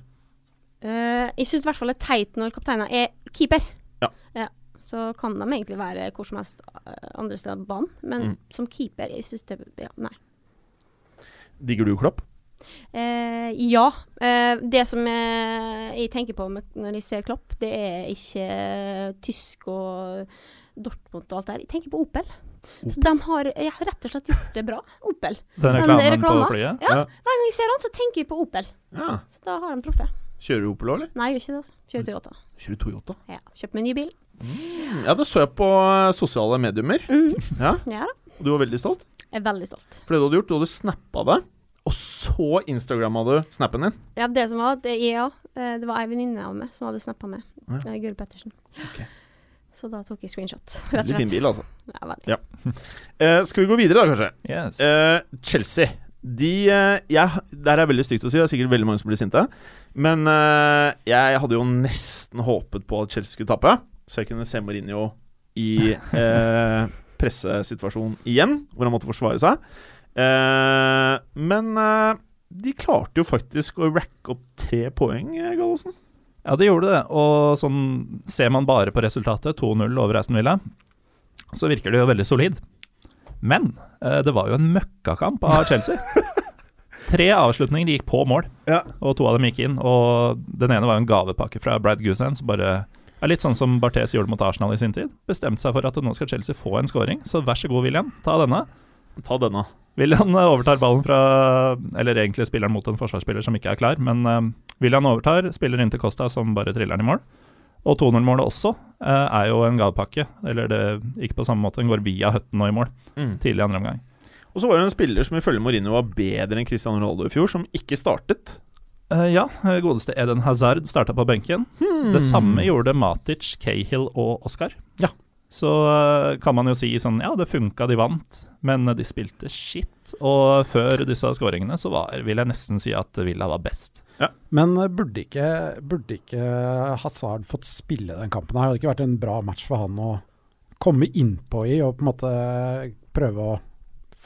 S6: Eh, jeg syns i hvert fall det er teit når kapteinen er keeper.
S3: Ja.
S6: Så kan de egentlig være hvor som helst eh, andre steder på banen, men
S3: Mm.
S6: som keeper jeg synes det ja, Nei.
S3: Digger du Klopp?
S6: Eh, ja. Eh, det som jeg, jeg tenker på med, når jeg ser Klopp, det er ikke eh, tysk og Dortmund og alt det her. Jeg tenker på Opel. Så de har ja, rett og slett gjort det bra. Opel.
S4: Den
S6: Den
S4: reklamen på
S6: reklama?
S4: flyet?
S6: Ja. Hver gang jeg ser han, så tenker jeg på Opel.
S3: Ja.
S6: Så da har de truffet.
S3: Kjører du Opel òg, eller?
S6: Nei, jeg gjør ikke det. altså. Kjører Toyota.
S3: Kjører Toyota.
S6: Ja. Kjøper meg en ny bil.
S3: Mm, Ja, det så jeg på eh, sosiale mediumer.
S6: Mhm.
S3: Ja,
S6: Ja da.
S3: og du var veldig stolt.
S6: Jeg er veldig stolt.
S3: For det du hadde gjort, du hadde snappa det, og så instagramma du snappen din.
S6: Ja, det som var at jeg, ja, eh, det var ei venninne av meg som hadde snappa meg.
S3: Å
S6: eh, Guri Pettersen.
S3: Ok.
S6: Så da tok jeg screenshot, rett og
S3: Veldig fin
S6: slett.
S3: bil, altså.
S6: Ja, veldig.
S3: Eh, skal vi gå videre, da, kanskje?
S4: Yes.
S3: Eh, Chelsea. De eh, jeg, Det her er veldig stygt å si, det er sikkert veldig mange som blir sinte. Men eh, jeg hadde jo nesten håpet på at Chelsea skulle tape, så jeg kunne se Mourinho i eh, pressesituasjon igjen, hvor han måtte forsvare seg. Eh, men eh, de klarte jo faktisk å racke opp tre poeng, eh, Gallosen.
S4: Ja, det gjorde det. Og sånn ser man bare på resultatet, 2-0 over Aston Villa, så virker det jo veldig solid. Men eh, det var jo en møkkakamp av Chelsea. Tre avslutninger gikk på mål,
S3: Ja.
S4: og to av dem gikk inn. Og den ene var jo en gavepakke fra Brad Gusan, som bare er litt sånn som Barthes gjorde mot Arsenal i sin tid. Bestemte seg for at nå skal Chelsea få en scoring, så vær så god, William, ta denne.
S3: Ta denne.
S4: William eh, overtar ballen fra Eller egentlig spilleren mot en forsvarsspiller som ikke er klar, men eh, William overtar, spiller inn til Costa, som bare triller den i mål. Og 2-0-målet også eh, er jo en gavepakke. Eller det ikke på samme måte, den går via Høtten og i mål tidlig i andre omgang.
S3: Mm. Og så var det en spiller som ifølge Mourinho var bedre enn Cristiano Ronaldo i fjor, som ikke startet.
S4: Eh, ja, eh, godeste Eden Hazard starta på benken. Det samme gjorde Matic, Cahill og Oscar.
S3: Mm. Ja.
S4: Så eh, kan man jo si sånn Ja, det funka, de vant, men eh, de spilte shit. Og før disse skåringene så var, vil jeg nesten si at Villa var best.
S5: Men eh, burde ikke, burde ikke Hazard fått spille den kampen her? Hadde det ikke vært en bra match for han å komme innpå i og på en måte prøve å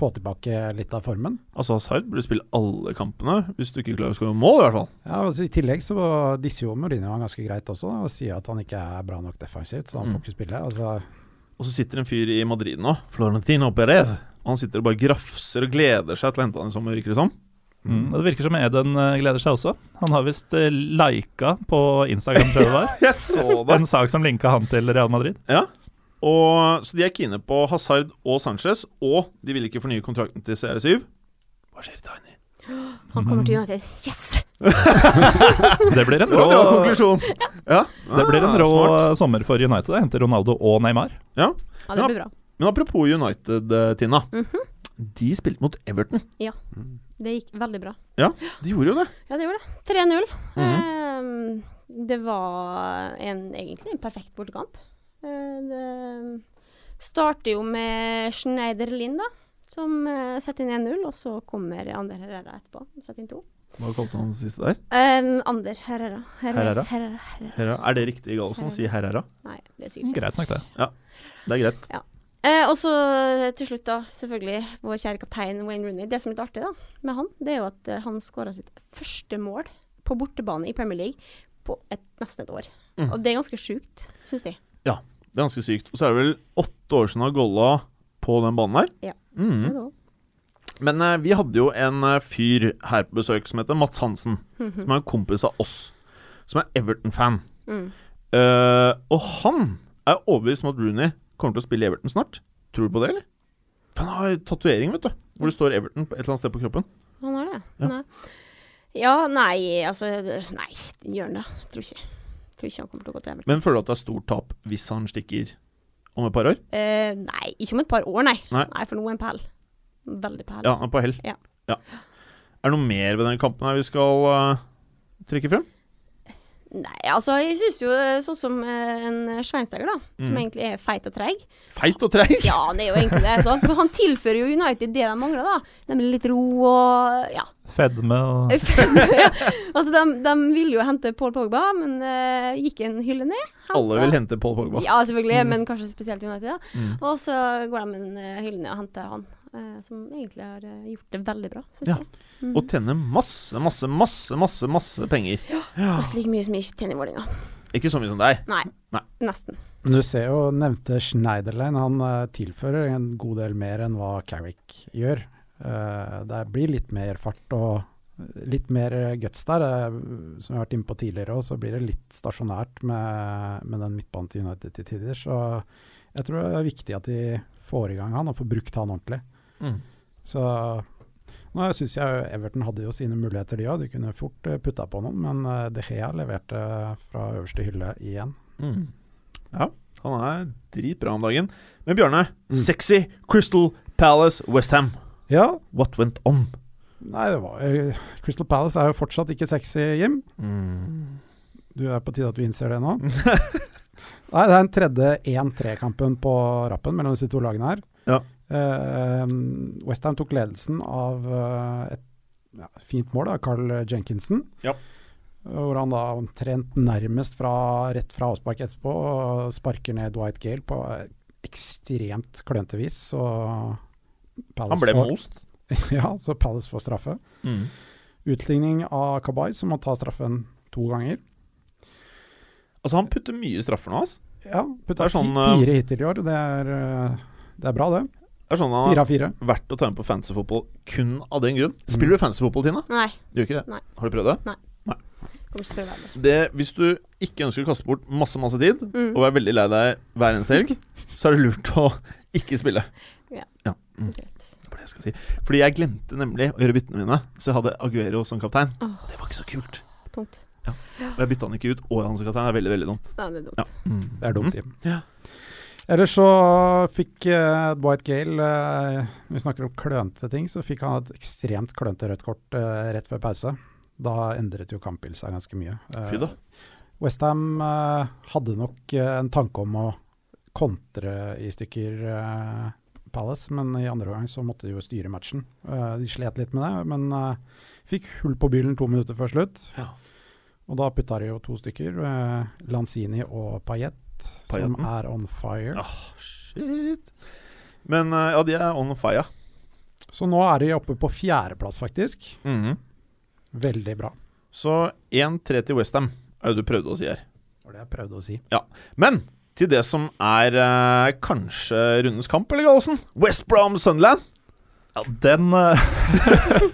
S5: få tilbake litt av formen?
S3: Altså Hazard burde spille alle kampene, hvis du ikke klarer å skåre mål, i hvert fall.
S5: Ja, altså I tillegg så disser jo Mourinho han ganske greit også, da, og sier at han ikke er bra nok defensivt, så han
S3: Mm.
S5: får ikke spille. Altså,
S3: Og så sitter en fyr i Madrid nå, Florentino Perez. Han sitter og bare grafser og gleder seg til å hente han i sommer, virker det som.
S4: Mm. og Det virker som Eden eh, gleder seg også. Han har visst eh, lika på Instagram, tror jeg det var.
S3: Jeg så
S4: En sak som linka han til Real Madrid.
S3: Ja. Og, så de er kine på Hazard og Sanchez, og de vil ikke fornye kontrakten til CR7. Hva skjer, Tiny?
S6: Han kommer
S3: Mm.
S6: til United. Yes!
S4: Det blir en
S3: Det var
S4: rå,
S3: en bra konklusjon. Ja.
S4: det blir en
S3: Ah,
S4: rå
S3: smart.
S4: sommer for United. Det henter Ronaldo og Neymar.
S6: Ja, det blir bra.
S3: Men apropos United, eh, Tina.
S6: Mhm.
S3: De spilte mot Everton.
S6: Det gikk veldig bra.
S3: De gjorde jo det.
S6: Ja, det gjorde det. 3-0. Eh, det var en, egentlig en perfekt bortekamp. Eh, det starter jo med Schneiderlin, da. Som eh, setter inn 1-0, og så kommer Ander Herrera etterpå. og Setter inn to.
S3: Hva kalte han siste der?
S6: Eh, Ander Herrera.
S4: Herrera?
S6: Herrera. Herrera.
S3: Herrera. Er det riktig, Gallosen, å si Herrera?
S6: Nei, det er sikkert ikke.
S4: Greit nok, det.
S3: Det er greit.
S6: Eh, og så eh, til slutt, da, selvfølgelig vår kjære kaptein Wayne Rooney. Det som er litt artig da, med han, det er jo at eh, han skåra sitt første mål på bortebane i Premier League på et, nesten et år.
S3: Mm.
S6: Og det er ganske sjukt, syns de.
S3: Det er ganske sykt. Og så er det vel åtte år siden han golla på den banen her.
S6: Ja.
S3: Mhm.
S6: Det er det også.
S3: Men eh, vi hadde jo en eh, fyr her på besøk som heter Mats Hansen.
S6: Mhm.
S3: Som er en kompis av oss. Som er Everton-fan.
S6: Mm.
S3: Eh, og han er overbevist om at Rooney kommer til å spille i Everton snart. Tror du på det, eller? For han har tatovering, vet du. Hvor det står Everton på et eller annet sted på kroppen.
S6: Han har det.
S3: Ja.
S6: Nei. ja, nei, altså det- Nei, gjør han det? Tror ikke. Tror ikke han kommer til å gå til Everton.
S3: Men føler du at det er stort tap hvis han stikker om et par år?
S6: Eh, nei, ikke om et par år, nei.
S3: Nei.
S6: for nå er han pæl. Veldig pæl.
S3: Ja, han er på hell.
S6: Ja.
S3: Er det noe mer ved denne kampen her vi skal eh, trekke frem?
S6: Nei, altså, jeg syns jo eh, sånn som eh, en Sveinsteiger, da, som
S3: Mm.
S6: egentlig er feit og treig,
S3: Feit og treig!
S6: Ja, han er jo egentlig det. Sant? Men han tilfører jo United det de mangler, da. Nemlig litt ro og ja.
S4: Fedme
S6: Eh.
S4: og
S6: altså, de, de ville jo hente Paul Pogba, men eh, gikk en hylle ned. Hentet-
S3: Alle vil hente Paul Pogba.
S6: Ja, selvfølgelig, men kanskje spesielt United. da.
S3: Mm.
S6: Og så går de en eh, hylle ned og henter han. eh, som egentlig har eh, gjort det veldig bra, syns
S3: Ja.
S6: jeg. Mm.
S3: Og tjene masse, masse, masse, masse masse penger.
S6: Nesten like mye som jeg ikke tjener i Vålerenga.
S3: Ikke så mye som deg.
S6: Nei,
S3: Nei.
S6: nesten.
S5: Men du ser jo, nevnte Schneiderlein, han eh, tilfører en god del mer enn hva Carrick gjør. Eh, det blir litt mer fart og litt mer eh, guts der. eh, som vi har vært inne på tidligere òg, så blir det litt stasjonært med, med den midtbanen til United til tider. Så jeg tror det er viktig at de får i gang han og får brukt han ordentlig.
S3: Mm.
S5: Så nå syns jeg Everton hadde jo sine muligheter, de òg. De kunne fort eh, putta på noen, men eh, De Gea leverte fra øverste hylle igjen.
S3: Ja, Mm. han er dritbra om dagen. Men Bjarne,
S5: Mm.
S3: sexy Crystal Palace Westham.
S5: Ja,
S3: What went on?
S5: Nei, det var, eh, Crystal Palace er jo fortsatt ikke sexy, Jim.
S3: Mm.
S5: Du er på tide at du innser det nå. Nei, det er den tredje 1-3-kampen på rappen mellom disse to lagene her.
S3: Ja.
S5: Westham tok ledelsen av eh, et ja, fint mål av Carl Jenkinson.
S3: Ja.
S5: Hvor han da omtrent nærmest fra, rett fra avspark etterpå og sparker ned Dwight Gale på ekstremt klønete vis. Så Palace
S3: Han ble
S5: får-
S3: most.
S5: Ja, så Palace får straffe.
S3: Mm.
S5: Utligning av Kabay, som må ta straffen to ganger.
S3: Altså, han putter mye straffer nå, ass.
S5: Ja,
S3: Det
S5: putta
S3: er sånn,
S5: fi- fire hittil i år. Det er, eh, det er bra, det.
S3: Det er sånn han
S5: Fire
S3: har
S5: av fire.
S3: vært å ta med på fantasyfotball kun av den grunn. Spiller du fantasyfotball, Tina?
S6: Nei,
S3: Du gjør ikke det?
S6: Nei.
S3: Har du prøvd det?
S6: kommer ikke til å prøve heller.
S3: det? Hvis du ikke ønsker å kaste bort masse, masse tid,
S6: Mm.
S3: og er veldig lei deg hver eneste helg, så er det lurt å ikke spille.
S6: Ja.
S3: Mm.
S6: Greit.
S3: Det var det jeg skal si. Fordi jeg glemte nemlig å gjøre byttene mine, så jeg hadde Aguero som kaptein.
S6: Åh.
S3: Det var ikke så kult.
S6: Tungt.
S3: Og jeg bytta han ikke ut, og han som kaptein. Det er veldig, veldig dumt.
S6: Nei, det er dumt.
S3: Ja.
S4: Mm.
S5: Det er dumt, Jim.
S3: Mm. Ja.
S5: Ellers så fikk eh, Dwight Gale eh, Når vi snakker om klønete ting, så fikk han et ekstremt klønete rødt kort eh, rett før pause. Da endret jo kampbildet seg ganske mye. Eh,
S3: Fy da.
S5: Westham eh, hadde nok eh, en tanke om å kontre i stykker eh, Palace, men i andre omgang så måtte de jo styre matchen. Eh, de slet litt med det, men eh, fikk hull på bilen to minutter før slutt.
S3: Ja.
S5: Og da putta de jo to stykker, eh, Lanzini og Payet, som
S3: Payetten?
S5: er on fire.
S3: Ja. Ah, Shit. Men eh, ja, de er on fire.
S5: Så nå er de oppe på fjerdeplass, faktisk.
S4: Mhm.
S5: Veldig bra.
S3: Så 1-3 til Westham er det du prøvde å si her.
S5: Det var det jeg prøvde å si.
S3: Men til det som er eh, kanskje rundens kamp, eller Gallosen? West Brom Sunderland.
S4: Ja, den eh,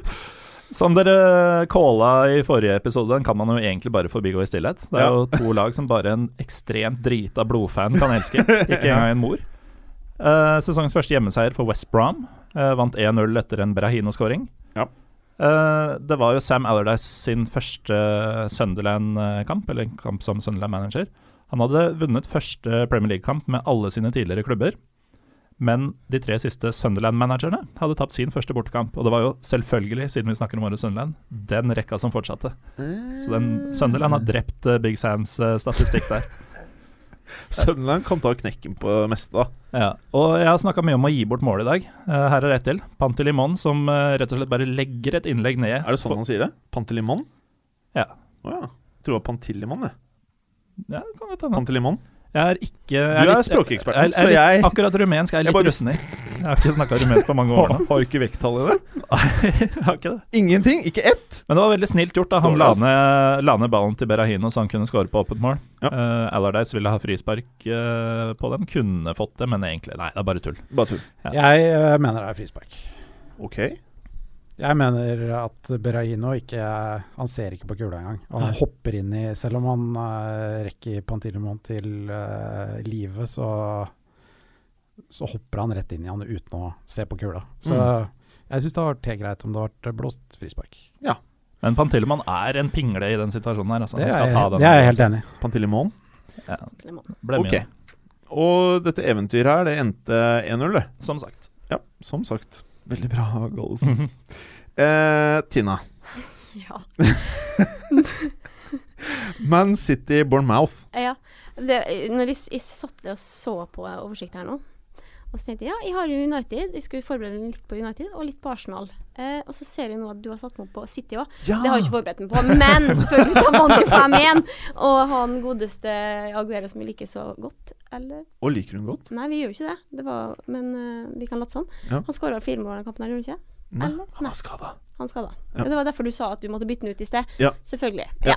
S4: Som dere calla i forrige episode, den kan man jo egentlig bare forbigå i stillhet. Det er
S3: Ja.
S4: jo to lag som bare en ekstremt drita blodfan kan elske. Ikke engang en mor. Eh, sesongens første hjemmeseier for West Brom. eh, vant 1-0 etter en Brahino-skåring.
S3: Ja.
S4: Eh, det var jo Sam Allardyce sin første Sunderland-kamp, eller en kamp som Sunderland-manager. Han hadde vunnet første Premier League-kamp med alle sine tidligere klubber. Men de tre siste Sunderland-managerne hadde tapt sin første bortekamp. Og det var jo selvfølgelig, siden vi snakker om årets Sunderland, den rekka som fortsatte. Så den, Sunderland har drept eh, Big Sams eh, statistikk der.
S3: Sunderland kan ta knekken på meste, da.
S4: Ja, og jeg har snakka mye om å gi bort mål i dag. Eh, her er ett til. Pantelimon som eh, rett og slett bare legger et innlegg ned.
S3: Er det sånn han sier det? Pantelimon?
S4: Ja.
S3: Å ja. Jeg tror det var Pantilimon, jeg.
S4: Ja, det kan godt hende.
S3: Pantelimon.
S4: Jeg er ikke jeg
S3: Du er
S4: litt-
S3: språkeksperten,
S4: jeg- jeg er
S3: så
S4: litt-
S3: jeg-
S4: Akkurat rumensk er jeg
S3: Jeg
S4: litt
S3: bare-
S4: russen i. Jeg har ikke snakka rumensk på mange år nå.
S3: Har du ikke vekttall i det?
S4: Jeg har ikke det.
S3: Ingenting! Ikke ett!
S4: Men det var veldig snilt gjort. da Han
S3: Dårlig,
S4: la
S3: ass.
S4: ned, la ned ballen til Berahino så han kunne skåre på åpent mål.
S3: Ja.
S4: Eh, Allardyce ville ha frispark eh, på den. Kunne fått det, men egentlig Nei, det er bare tull.
S3: Bare tull.
S5: Jeg eh, mener det er frispark.
S3: OK.
S5: Jeg mener at Berahino ikke Han ser ikke på kula engang. Og han
S4: Nei.
S5: hopper inn i Selv om han eh, rekker Pantilimon til eh, livet, så så hopper han rett inn i han uten å se på kula. Så
S4: Mm.
S5: jeg syns det hadde vært helt greit om det hadde vært blåst frispark.
S4: Men Pantilemann er en pingle i den situasjonen her. Altså.
S5: Det
S4: Han
S5: er,
S4: skal ta
S5: jeg-
S4: den.
S5: det er jeg helt enig i.
S3: Pantilimon.
S6: Lemon.
S4: Ble mye.
S3: Ok. Og dette eventyret her, det endte 1-0, det.
S4: Som sagt.
S3: Ja, som sagt. Veldig bra, Gallosen. eh, Tina.
S6: Ja.
S3: Man City Bournemouth.
S6: ja. Det, når jeg, s- jeg satt og så på oversikt her nå, og så tenkte jeg ja, jeg har jo United. Jeg skulle forberede meg litt på United og litt på Arsenal. Eh, og så ser jeg nå at du har satt meg opp på City òg.
S3: Ja.
S6: Det har jeg ikke forberedt meg på, men selvfølgelig, han vant jo 5-1! Og han godeste Aguero, som jeg liker så godt, eh, Eller?
S3: Og liker hun godt?
S6: Nei, vi gjør jo ikke det. det var, men eh, vi kan late som.
S3: Ja.
S6: Han skåra fire mål i den kampen, her, gjorde han ikke?
S3: Nei,
S6: Eller?
S3: han er skada.
S6: Han skada.
S3: Ja.
S6: Det var derfor du sa at du måtte bytte den ut i sted.
S3: Ja.
S6: Selvfølgelig.
S3: Ja.
S6: Ja.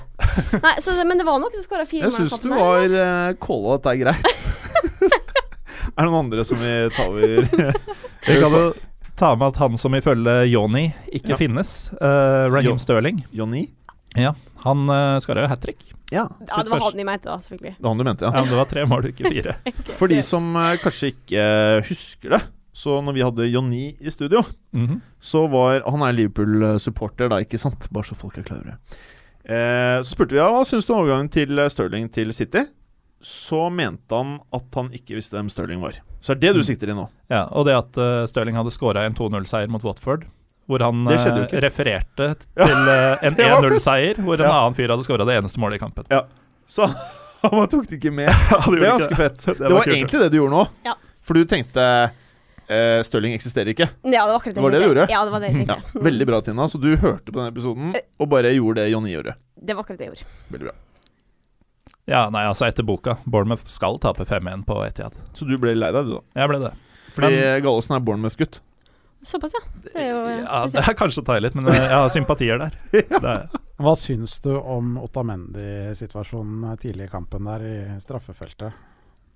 S6: Nei, så, men det var noen som skåra fire
S3: Jeg
S6: mål. i den
S3: syns du
S6: kampen her.
S3: var uh, calla at det er greit. er det noen andre som vil ta over?
S4: Vi kan jo ta med at han som ifølge Joni ikke
S3: Ja.
S4: finnes, eh,
S3: Jo.
S4: Raheem Sterling,
S3: Jonny?
S4: han uh, skåra jo hat trick.
S3: Ja.
S6: Ja, det var han jeg mente, da, selvfølgelig.
S3: Det var han du mente,
S4: Ja,
S3: ja.
S4: men det var tre mål, ikke fire.
S3: For de som eh, kanskje ikke eh, husker det, så når vi hadde Jonny i studio,
S4: Mhm.
S3: så var Han er Liverpool-supporter, da, ikke sant? Bare så folk er klar over det. Eh, så spurte vi ja, hva syns du om overgangen til eh, Sterling til City. Så mente han at han ikke visste hvem Sterling var. Så er det du
S4: Mm.
S3: sikter i nå.
S4: Ja, og det at eh, Sterling hadde skåra en 2-0-seier mot Watford, hvor han
S3: Det skjedde jo
S4: eh,
S3: ikke.
S4: refererte til eh, en
S3: det var
S4: 1-0-seier, hvor en
S3: Ja.
S4: annen fyr hadde skåra det eneste målet i kampen.
S3: Så han tok det ikke med. Det
S4: Ja, det
S3: er
S4: gjorde ikke
S3: ganske
S4: det.
S3: fett. Det var,
S4: var kult,
S3: egentlig det du gjorde nå.
S6: Ja.
S3: For du tenkte eh, Stirling eksisterer ikke.
S6: Ja, det var akkurat det.
S3: Det var det
S6: jeg
S3: du
S6: tenkte.
S3: gjorde?
S6: Ja, det var det jeg Mm. Eh.
S3: Ja,
S6: tenkte.
S3: veldig bra, Tina. Så du hørte på denne episoden og bare gjorde det Jonny gjorde.
S6: Det var akkurat det jeg gjorde.
S3: Veldig bra.
S4: Ja, nei, altså etter boka. Bournemouth skal tape 5-1 på Etihad.
S3: Så du ble lei deg, du, da.
S4: Jeg ble det.
S3: Fordi Gallosen er Bournemouth-gutt.
S6: Såpass, ja. Det er jo eh,
S4: ja, det
S6: spesielt.
S4: er kanskje å ta i litt, men eh, jeg har sympatier der. Det er,
S5: Hva syns du om Ottamendi-situasjonen tidlig i kampen der i straffefeltet?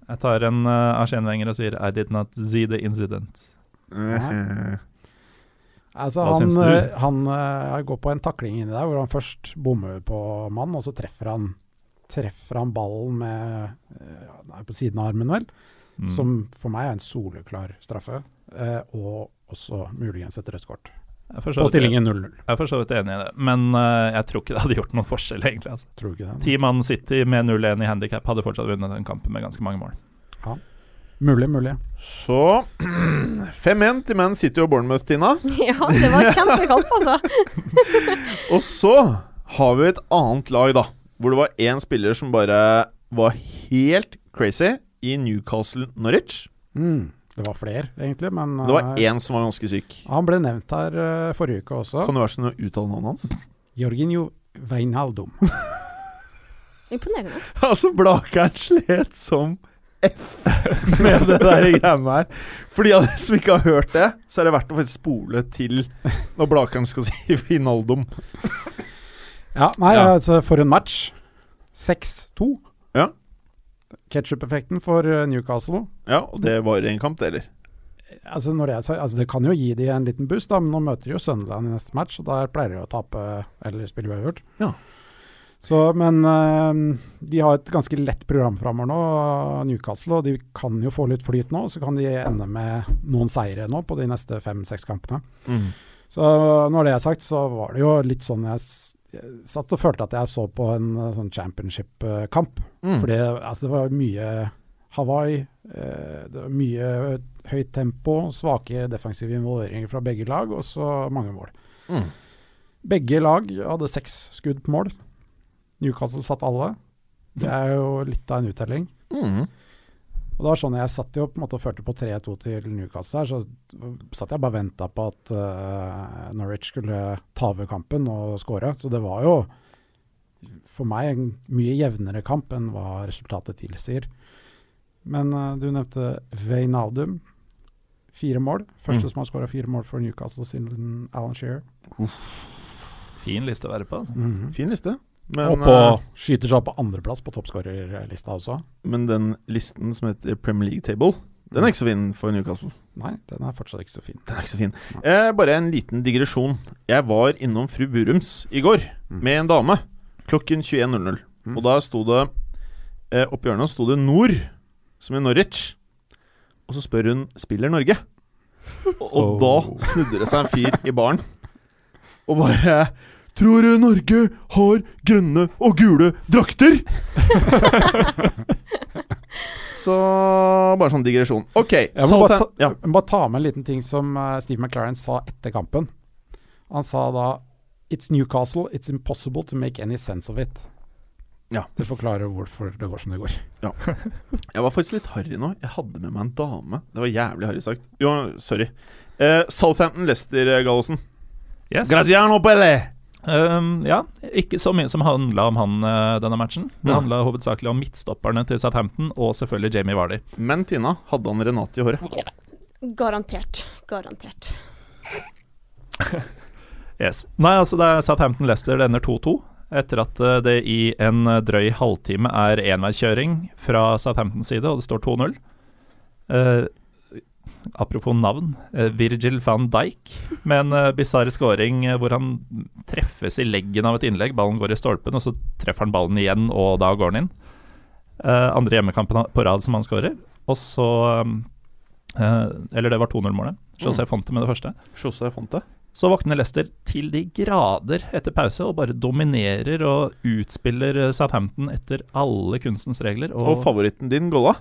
S4: jeg tar en uh, Arsene Wenger og sier I did not see the incident.
S5: Mhm. Altså,
S4: Hva
S5: han,
S4: syns du?
S5: eh, han eh, går på en takling inni der hvor han først bommer på mann, og så treffer han, treffer han ballen med eh, ja, den er på siden av armen, vel?
S4: Mm.
S5: Som for meg er en soleklar straffe. eh, og også muligens et rødt kort.
S4: Jeg er for så
S5: På
S4: vidt-
S5: stillingen 0-0.
S4: Jeg er for så vidt enig i det, men eh, jeg tror ikke det hadde gjort noen forskjell, egentlig. Altså.
S5: Tror du ikke det?
S4: Ti mann City med 0-1 i handikap hadde fortsatt vunnet den kampen med ganske mange mål.
S5: Mulig, mulig.
S3: Så 5-1 til Man City og Bournemouth, Tina.
S6: ja, det var kjempekamp, altså.
S3: Og så har vi et annet lag, da. Hvor det var én spiller som bare var helt crazy i Newcastle Norwich.
S5: Mm. Det var flere, egentlig, men
S3: Det var
S5: eh,
S3: én som var ganske syk.
S5: han ble nevnt her eh, forrige uke også.
S3: Kan du være så snill å uttale navnet hans?
S5: Jorginho Veinaldum.
S6: Imponerende.
S3: Altså, Blakeren slet som F med det der greiene her. For de av dere som ikke har hørt det, så er det verdt å faktisk spole til når Blakeren skal si Vinaldum.
S5: Ja, nei,
S3: Ja.
S5: altså for en match. 6-2.
S3: Ja.
S5: Ketchup-effekten for eh, Newcastle.
S3: Ja, og det var en kamp, det, eller?
S5: Altså, når jeg, sa- altså Det kan jo gi de en liten boost, da, men nå møter de jo Sunderland i neste match, og der pleier de å tape eller spille uavgjort.
S3: Ja.
S5: Så, men eh, de har et ganske lett program framover nå, Newcastle, og de kan jo få litt flyt nå. Så kan de ende med noen seire nå på de neste fem-seks kampene. Så når det er sagt, så var det jo litt sånn jeg, s- jeg satt og følte at jeg så på en eh, sånn championship-kamp.
S3: Mm.
S5: For det, altså, det var mye Hawaii, eh, det var mye høyt tempo, svake defensive involveringer fra begge lag, og så mange mål.
S3: Mm.
S5: Begge lag hadde seks skudd på mål. Newcastle satt alle. Det er jo litt av en uttelling.
S3: Mm.
S5: Og det var sånn Jeg satt jo på en måte og førte på 3-2 til Newcastle her, så satt jeg bare og venta på at eh, Norwich skulle ta over kampen og skåre. Så det var jo for meg en mye jevnere kamp enn hva resultatet tilsier. Men eh, du nevnte Veinaldum. Fire mål. Første
S3: Mm.
S5: som har skåra fire mål for Newcastle siden Alan Shearer.
S4: Fin liste å være på. Altså.
S5: Mhm.
S3: Fin liste. Men,
S5: Og på,
S3: eh,
S5: skyter seg opp på andreplass på toppskårerlista også.
S3: men den listen som heter Premier League Table, den er ikke så fin for Newcastle.
S5: Nei, den er fortsatt ikke så fin.
S3: Den er ikke så fin. Eh, bare en liten digresjon. Jeg var innom fru Burums i går
S5: Mm.
S3: med en dame klokken 21.00.
S5: Mm.
S3: Og da sto det eh, Oppi hjørnet sto det Nord, som i Norwich. Og så spør hun spiller Norge. Og, og
S5: Oh.
S3: da snudde det seg en fyr i baren og bare Tror du Norge har grønne og gule drakter? så bare sånn digresjon. OK.
S5: Jeg må bare ta,
S3: Southampton- ja.
S5: jeg må bare ta med en liten ting som eh, Steve McLaren sa etter kampen. Han sa da It's Newcastle, it's impossible to make any sense of it.
S3: Ja.
S5: Det forklarer hvorfor det går som det går.
S3: Jeg var faktisk litt harry nå. Jeg hadde med meg en dame. Det var jævlig harry sagt. Jo, sorry. Eh, Southampton Leicester, eh, Gallosen.
S4: Yes.
S3: Graziano Pelle!
S4: Ehm, ja, ikke så mye som handla om han eh, denne matchen. Det
S5: Mm.
S3: Ja.
S4: handla hovedsakelig om midtstopperne til Southampton og selvfølgelig Jamie Vardy.
S3: Men Tina, hadde han Renate i håret?
S6: Garantert. Garantert.
S4: Yes. Nei, altså det er Southampton Leicester det ender 2-2. Etter at eh, det i en eh, drøy halvtime er enveiskjøring fra Southamptons side, og det står 2-0. Eh, apropos navn, eh, Virgil van Dijk med en uh, bisarr scoring eh, hvor han treffes i leggen av et innlegg. Ballen går i stolpen, og så treffer han ballen igjen, og da går den inn. Eh, andre hjemmekampen på rad som han skårer. Og så eh, Eller det var 2-0-målet. José Fonte med det første.
S3: José Fonte?
S4: Så våkner Leicester til de grader etter pause og bare dominerer og utspiller eh, Southampton etter alle kunstens regler.
S3: Og
S4: Og
S3: favoritten din, Golla?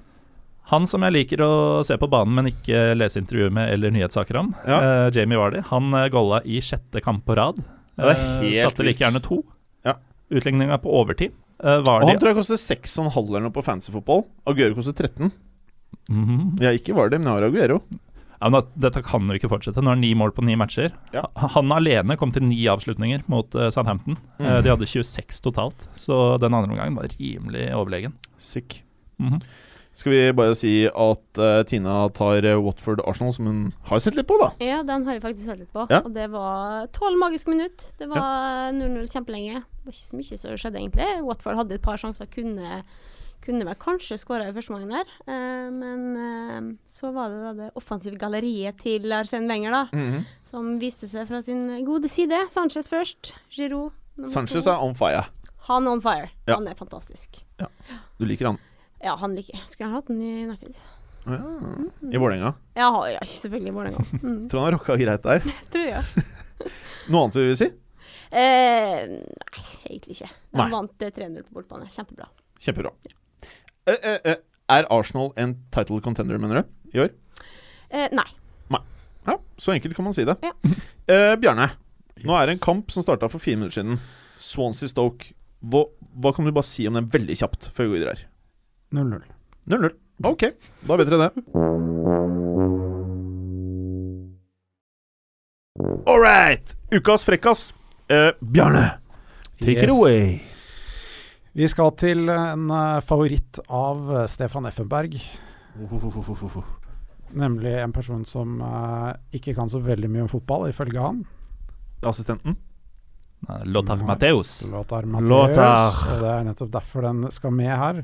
S4: han som jeg liker å se på banen, men ikke lese intervjuer med eller nyhetssaker om, eh, Jamie Vardy, han eh, golla i sjette kamp på rad.
S3: Ja, det er
S4: Eh,
S3: helt
S4: Satte like
S3: vilt.
S4: gjerne to.
S3: Ja.
S4: Utligninga på overtid. Eh,
S3: Og han
S4: Vardy
S3: tror jeg koster 6,5 eller noe på fancyfotball. Aguero koster 13.
S4: Mhm.
S3: Jeg ikke var det, men jeg har Aguero.
S4: ja, men at- Dette kan jo ikke fortsette. Nå er det ni mål på ni matcher.
S3: Ja.
S4: Ha- Han alene kom til ni avslutninger mot eh, Southampton.
S3: Mm.
S4: Eh, de hadde 26 totalt, så den andre omgangen var rimelig overlegen.
S3: Mm. Sick.
S4: Mhm.
S3: Skal vi bare si at eh, Tina tar eh, Watford Arsenal, som hun har sett litt på, da?
S6: Ja, den har jeg faktisk sett litt på.
S3: Ja.
S6: Og det var tolv magiske minutt. Det var 0-0 kjempelenge. Det var ikke så mye som skjedde, egentlig. Watford hadde et par sjanser. Kunne, kunne vel kanskje skåra i første omgang der. Eh, men eh, så var det da det offensive galleriet til Arsène Wenger, da. Som viste seg fra sin gode side. Sanchez først. Giroud. nummer
S3: Sanchez
S6: to.
S3: er on fire.
S6: Han on fire.
S3: Ja.
S6: Han er fantastisk.
S3: Du liker han.
S6: Ja, han liker jeg. Skulle gjerne hatt den i United.
S3: Ja. I Vålerenga.
S6: Ja, ha- ja selvfølgelig i Vålerenga. Mm,
S3: Tror han har rocka greit der.
S6: tror jeg.
S3: Noe annet du vil si?
S6: Eh, nei, egentlig ikke. De
S3: Nei.
S6: vant eh, 3-0 på bortbane. Kjempebra.
S3: Kjempebra. Eh, eh, eh, er Arsenal en title contender, mener du? I år?
S6: Eh, nei.
S3: Ja, så enkelt kan man si det.
S6: Ja.
S3: Eh, Bjarne, nå er det en kamp som starta for fire minutter siden. Swansea Stoke. Hva, hva kan du bare si om den veldig kjapt før vi går videre her?
S5: 0-0.
S3: 0-0. Ok, da vet dere det. All right! Ukas frekkas. Eh, Bjarne, take it
S5: Yes.
S3: away.
S5: Vi skal til en eh, favoritt av eh, Stefan Effenberg. Nemlig en person som eh, ikke kan så veldig mye om fotball, ifølge han.
S3: Assistenten.
S4: Nei, Lothar
S5: Nei.
S4: Matthäus.
S5: Lothar Matheus.
S4: Lothar.
S5: Og det er nettopp derfor den skal med her.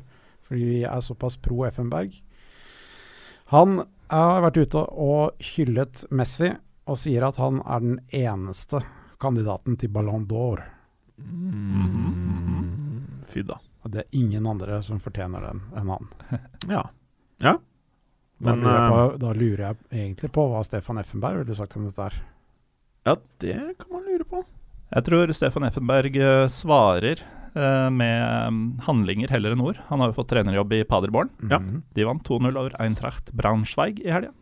S5: Fordi vi er såpass pro Effenberg. Han har vært ute og hyllet Messi og sier at han er den eneste kandidaten til Ballon d'Or.
S3: Fy da.
S5: Og det er ingen andre som fortjener den enn han.
S3: Ja. eh,
S5: Da,
S3: Men,
S5: lurer jeg på, da lurer jeg egentlig på hva Stefan Effenberg ville sagt om dette her.
S3: ja, det kan man lure på.
S4: Jeg tror Stefan Effenberg eh, svarer eh, med eh, handlinger heller enn ord. Han har jo fått trenerjobb i Paderborn.
S5: Mhm.
S3: Ja.
S4: De vant 2-0 over Eintracht Braunschweig i helga.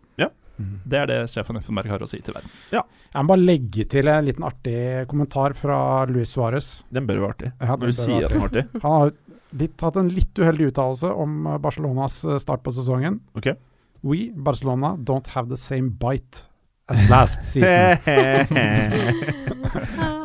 S5: Mhm.
S4: Det er det Stefan Effenberg har å si til verden.
S5: Jeg må bare legge til en liten artig kommentar fra Luis Suárez.
S3: Den bør være artig.
S5: Ja,
S3: Når
S5: den
S3: du
S5: bør
S3: sier
S5: være
S3: at den er artig.
S5: Han har litt, hatt en litt uheldig uttalelse om eh, Barcelonas eh, start på sesongen.
S3: Ok.
S5: We, Barcelona, don't have the same bite as last season.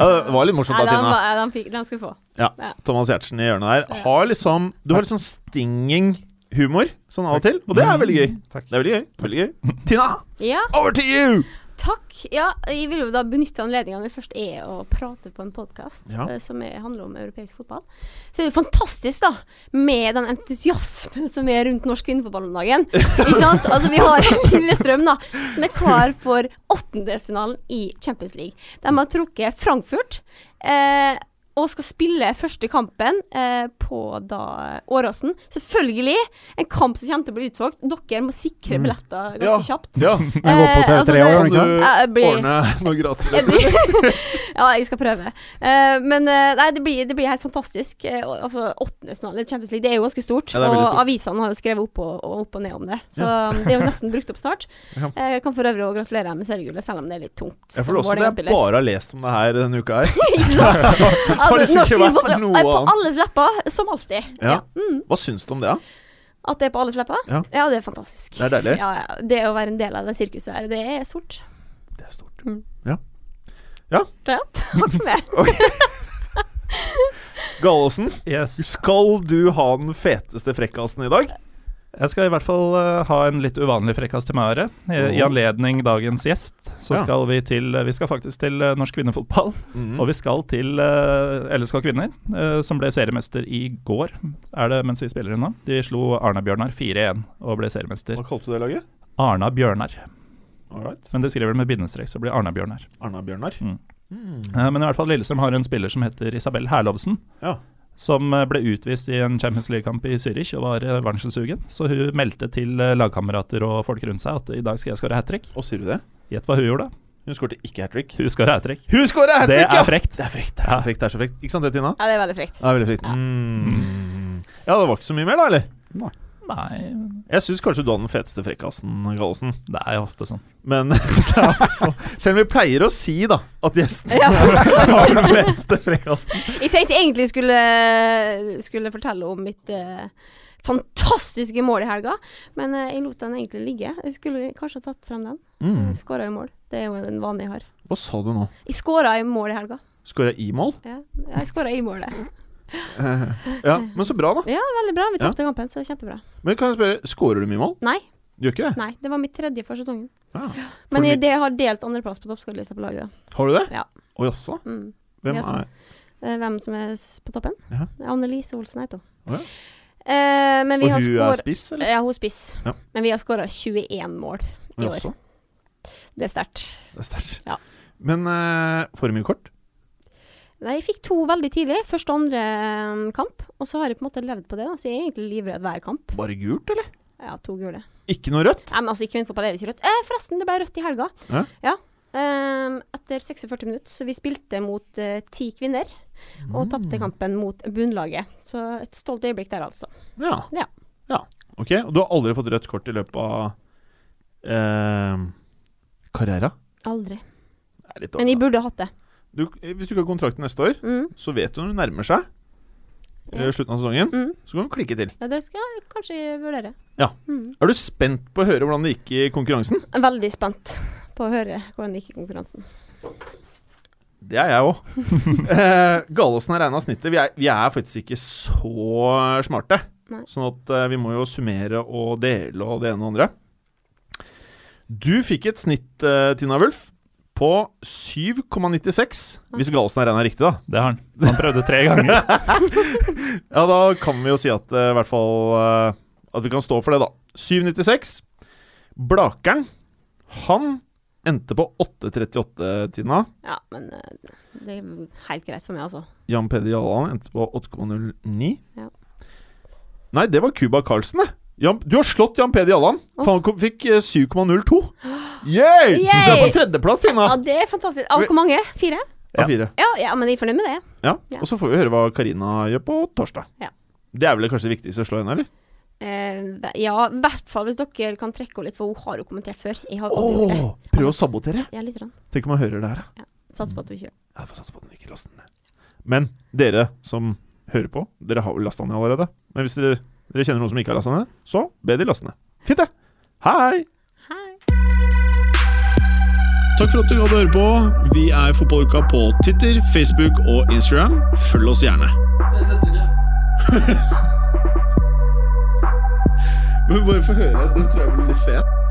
S3: Ja, det var litt morsomt da,
S6: Nei, den,
S3: Tina.
S6: var- den, fikk, den skulle få.
S3: Thomas Giertsen i hjørnet her har liksom Du har litt sånn stinging humor sånn av og til, og det er veldig gøy.
S5: Takk.
S3: Det er veldig gøy. Veldig gøy. Tina,
S6: Ja,
S3: over to you!
S6: takk. Ja, jeg vil jo da benytte anledningen når jeg først er å prate på en podkast
S3: Ja.
S6: som er, handler om europeisk fotball. Så er det fantastisk, da, med den entusiasmen som er rundt norsk kvinnefotball om dagen. Ikke sant? Altså, vi har Lillestrøm, da, som er klar for åttendedelsfinalen i Champions League. De har trukket Frankfurt. Eh, og skal spille første kampen eh, på da Åråsen. Selvfølgelig en kamp som kommer til å bli utsolgt. Dere må sikre billetter ganske
S3: Mm. Ja.
S6: kjapt.
S3: Ja,
S5: Jeg går på
S6: Eh,
S5: til
S6: altså,
S5: tre
S6: det-
S5: år,
S3: kan
S5: ikke sant?
S3: du
S6: Ja, jeg blir-
S3: ordne noe gratis?
S6: Jeg blir- ja, jeg skal prøve. Eh, men eh, nei, det blir, det blir helt fantastisk. Eh, og- altså, Åttendedelsfinale i Champions League, det er jo ganske stort.
S3: Ja, det er veldig
S6: og
S3: stort.
S6: avisene har jo skrevet opp og, og opp og ned om det. Så um, det er jo nesten brukt opp snart.
S3: Ja.
S6: Eh, Jeg kan for øvrig også gratulere dem med seriegullet, selv om det er litt tungt.
S3: Jeg
S6: som
S3: føler også det jeg
S6: Vålerenga-spiller.
S3: bare har lest om det her denne uka her.
S6: Ikke sant?
S3: Har det
S6: Altså, norsk
S3: sikkert vært
S6: fotball
S3: noe
S6: er på
S3: annet?
S6: alles lepper, som alltid.
S3: Ja. Hva syns du om det, da?
S6: At det er på alles lepper?
S3: Ja.
S6: det er fantastisk.
S3: Det er deilig.
S6: Ja, ja. Det å være en del av det sirkuset her, det er stort.
S3: Det er stort.
S6: Mm.
S3: Ja. Ja.
S6: Takk for meg.
S3: Gallosen,
S4: Yes.
S3: skal du ha den feteste frekkasen i dag?
S4: Jeg skal i hvert fall eh, ha en litt uvanlig frekkas til meg å gjøre. I, I
S3: Mhm.
S4: anledning dagens gjest så
S3: Ja.
S4: skal vi til Vi skal faktisk til eh, norsk kvinnefotball.
S3: Mm.
S4: Og vi skal til eh, LSK Kvinner, eh, som ble seriemester i går, er det mens vi spiller unna. De slo Arna-Bjørnar 4-1 og ble seriemester.
S3: Hva kalte du det laget?
S4: Arna-Bjørnar.
S3: All right.
S4: Men det skriver de med bindestrek, så det blir Arna-Bjørnar.
S3: Arna Bjørnar.
S4: Mm. Eh, Men i hvert fall Lillestrøm har en spiller som heter Isabel Herlovsen.
S3: Ja.
S4: Som eh, ble utvist i en Champions League-kamp i Zürich og var eh, varselsugen. Så hun meldte til eh, lagkamerater og folk rundt seg at i dag skal jeg skåre hat trick.
S3: Og sier du det?
S4: Gjett hva hun gjorde.
S3: Hun skårte ikke hat trick.
S4: Hun skåra hat trick.
S3: Hun skåra hat
S4: Det
S3: trick, ja!
S4: er frekt.
S3: Det er frekt, det er så frekt. det er så frekt Ikke sant det, Tina?
S6: Ja, det er veldig frekt.
S3: Det er veldig frekt.
S6: Ja.
S3: Mm. Ja, det var ikke så mye mer, da, eller?
S4: Nei,
S3: Jeg syns kanskje du hadde den feteste frekkasen, Gallosen.
S4: det er jo ofte sånn.
S3: Men altså, selv om vi pleier å si da at gjesten
S6: Ja,
S3: har den feteste frekkasen
S6: Jeg tenkte egentlig jeg skulle, skulle fortelle om mitt eh, fantastiske mål i helga, men eh, jeg lot den egentlig ligge. Jeg skulle kanskje ha tatt frem den.
S3: mm.
S6: Jeg Skåra i mål. Det er jo en vane jeg har.
S3: Hva sa du nå?
S6: Jeg skåra i mål i helga.
S3: Skåra i mål?
S6: Ja, jeg skåra i målet.
S3: Ja, men så bra, da.
S6: Veldig bra. Vi
S3: Ja.
S6: tapte kampen, så kjempebra.
S3: Men kan jeg spørre, skårer du mye mål?
S6: Nei,
S3: Du gjør ikke det?
S6: nei, det var mitt tredje for sesongen.
S3: Ja.
S6: Men
S3: For
S6: jeg,
S3: mye-
S6: det jeg har delt andreplass på toppskårerlista på laget. da.
S3: Har du det?
S6: Ja.
S3: Å jaså?
S6: Mm.
S3: Hvem
S6: Jaså.
S3: er
S6: Eh, Hvem som er s- på toppen?
S3: Ja.
S6: Anne-Lise Olsen heter hun.
S3: Å ja.
S6: Eh, men vi
S3: Og
S6: har
S3: hun er
S6: skåra
S3: spiss, eller?
S6: Ja, hun er spiss.
S3: Ja.
S6: Men vi har skåra 21 mål i år.
S3: Jaså.
S6: Det er sterkt.
S3: Det er sterkt.
S6: Ja.
S3: Men eh, for mye kort?
S6: Nei, jeg fikk to veldig tidlig. Første og andre eh, kamp. Og så har jeg på en måte levd på det, da. så jeg er egentlig livredd hver kamp.
S3: Bare gult, eller?
S6: Ja, to gule.
S3: Ikke noe rødt?
S6: Nei, men altså, i kvinnefotball er det ikke rødt. Eh, forresten, det ble rødt i helga.
S3: Ja.
S6: Ehm, etter 46 minutter, så vi spilte mot eh, ti kvinner.
S3: Mm.
S6: Og tapte kampen mot bunnlaget. Så et stolt øyeblikk der, altså.
S3: Ja.
S6: Ja.
S3: Ja, Ok, og du har aldri fått rødt kort i løpet av eh, karriera?
S6: Aldri.
S3: Det er litt
S6: Men
S3: dårlig,
S6: jeg
S3: da.
S6: burde hatt det.
S3: Du, eh, hvis du ikke har kontrakt til neste år,
S6: Mm.
S3: så vet du når det nærmer seg eh,
S6: Ja.
S3: slutten av sesongen.
S6: Mm.
S3: Så kan du klikke til.
S6: Ja, det skal jeg kanskje vurdere.
S3: Ja.
S6: Mm.
S3: Er du spent på å høre hvordan det gikk i konkurransen?
S6: Jeg er Veldig spent på å høre hvordan det gikk i konkurransen.
S3: Det er jeg òg. eh, Gallosen har regna snittet. Vi er, vi er faktisk ikke så smarte.
S6: Nei.
S3: Sånn at eh, vi må jo summere og dele og det ene og det andre. Du fikk et snitt, eh, Tina Wulf, på 7,96. Hvis Gallosen har regna riktig, da.
S4: Det har han. Han prøvde tre ganger.
S3: Ja, da kan vi jo si at eh, i hvert fall eh, At vi kan stå for det, da. 7,96. Blakeren, han endte på 8,38, Tina.
S6: Ja, men eh, det er helt greit for meg, altså.
S3: Jan Peder Jalland endte på 8,09.
S6: Ja.
S3: Nei, det var Cuba Carlsen, det. Jan, du har slått Jan Peder Jalland.
S6: Åh.
S3: For han kom, fikk eh, 7,02. Yay! Du er på
S6: Yay!
S3: tredjeplass, Tina.
S6: Ja, det er fantastisk. Ah, hvor mange? Fire?
S3: Av fire.
S6: Ja, ja, men jeg er fornøyd med det.
S3: Ja.
S6: Ja.
S3: Og så får vi høre hva Karina gjør på torsdag.
S6: Ja.
S3: Det er vel kanskje det viktigste å slå henne, eller?
S6: Eh, ja, i hvert fall hvis dere kan trekke henne litt, for hun har jo kommentert før. Jeg har aldri gjort det.
S3: prøv å sabotere.
S6: Ja, litt. Rann.
S3: Tenk om jeg hører det her. da.
S6: Satser på at du ikke gjør det.
S3: Jeg får satse på at den ikke laster ned. Men dere som hører på, dere har vel lasta ned allerede. Men hvis dere, dere kjenner noen som ikke har lasta ned, så be de laste ned. Fint, det. Hei!
S6: Hei.
S1: Takk for at du gadd å høre på. Vi er Fotballuka på Twitter, Facebook og Instagram. Følg oss gjerne.
S2: Ses neste uke.
S1: Bare få høre. Den tror jeg blir litt fet.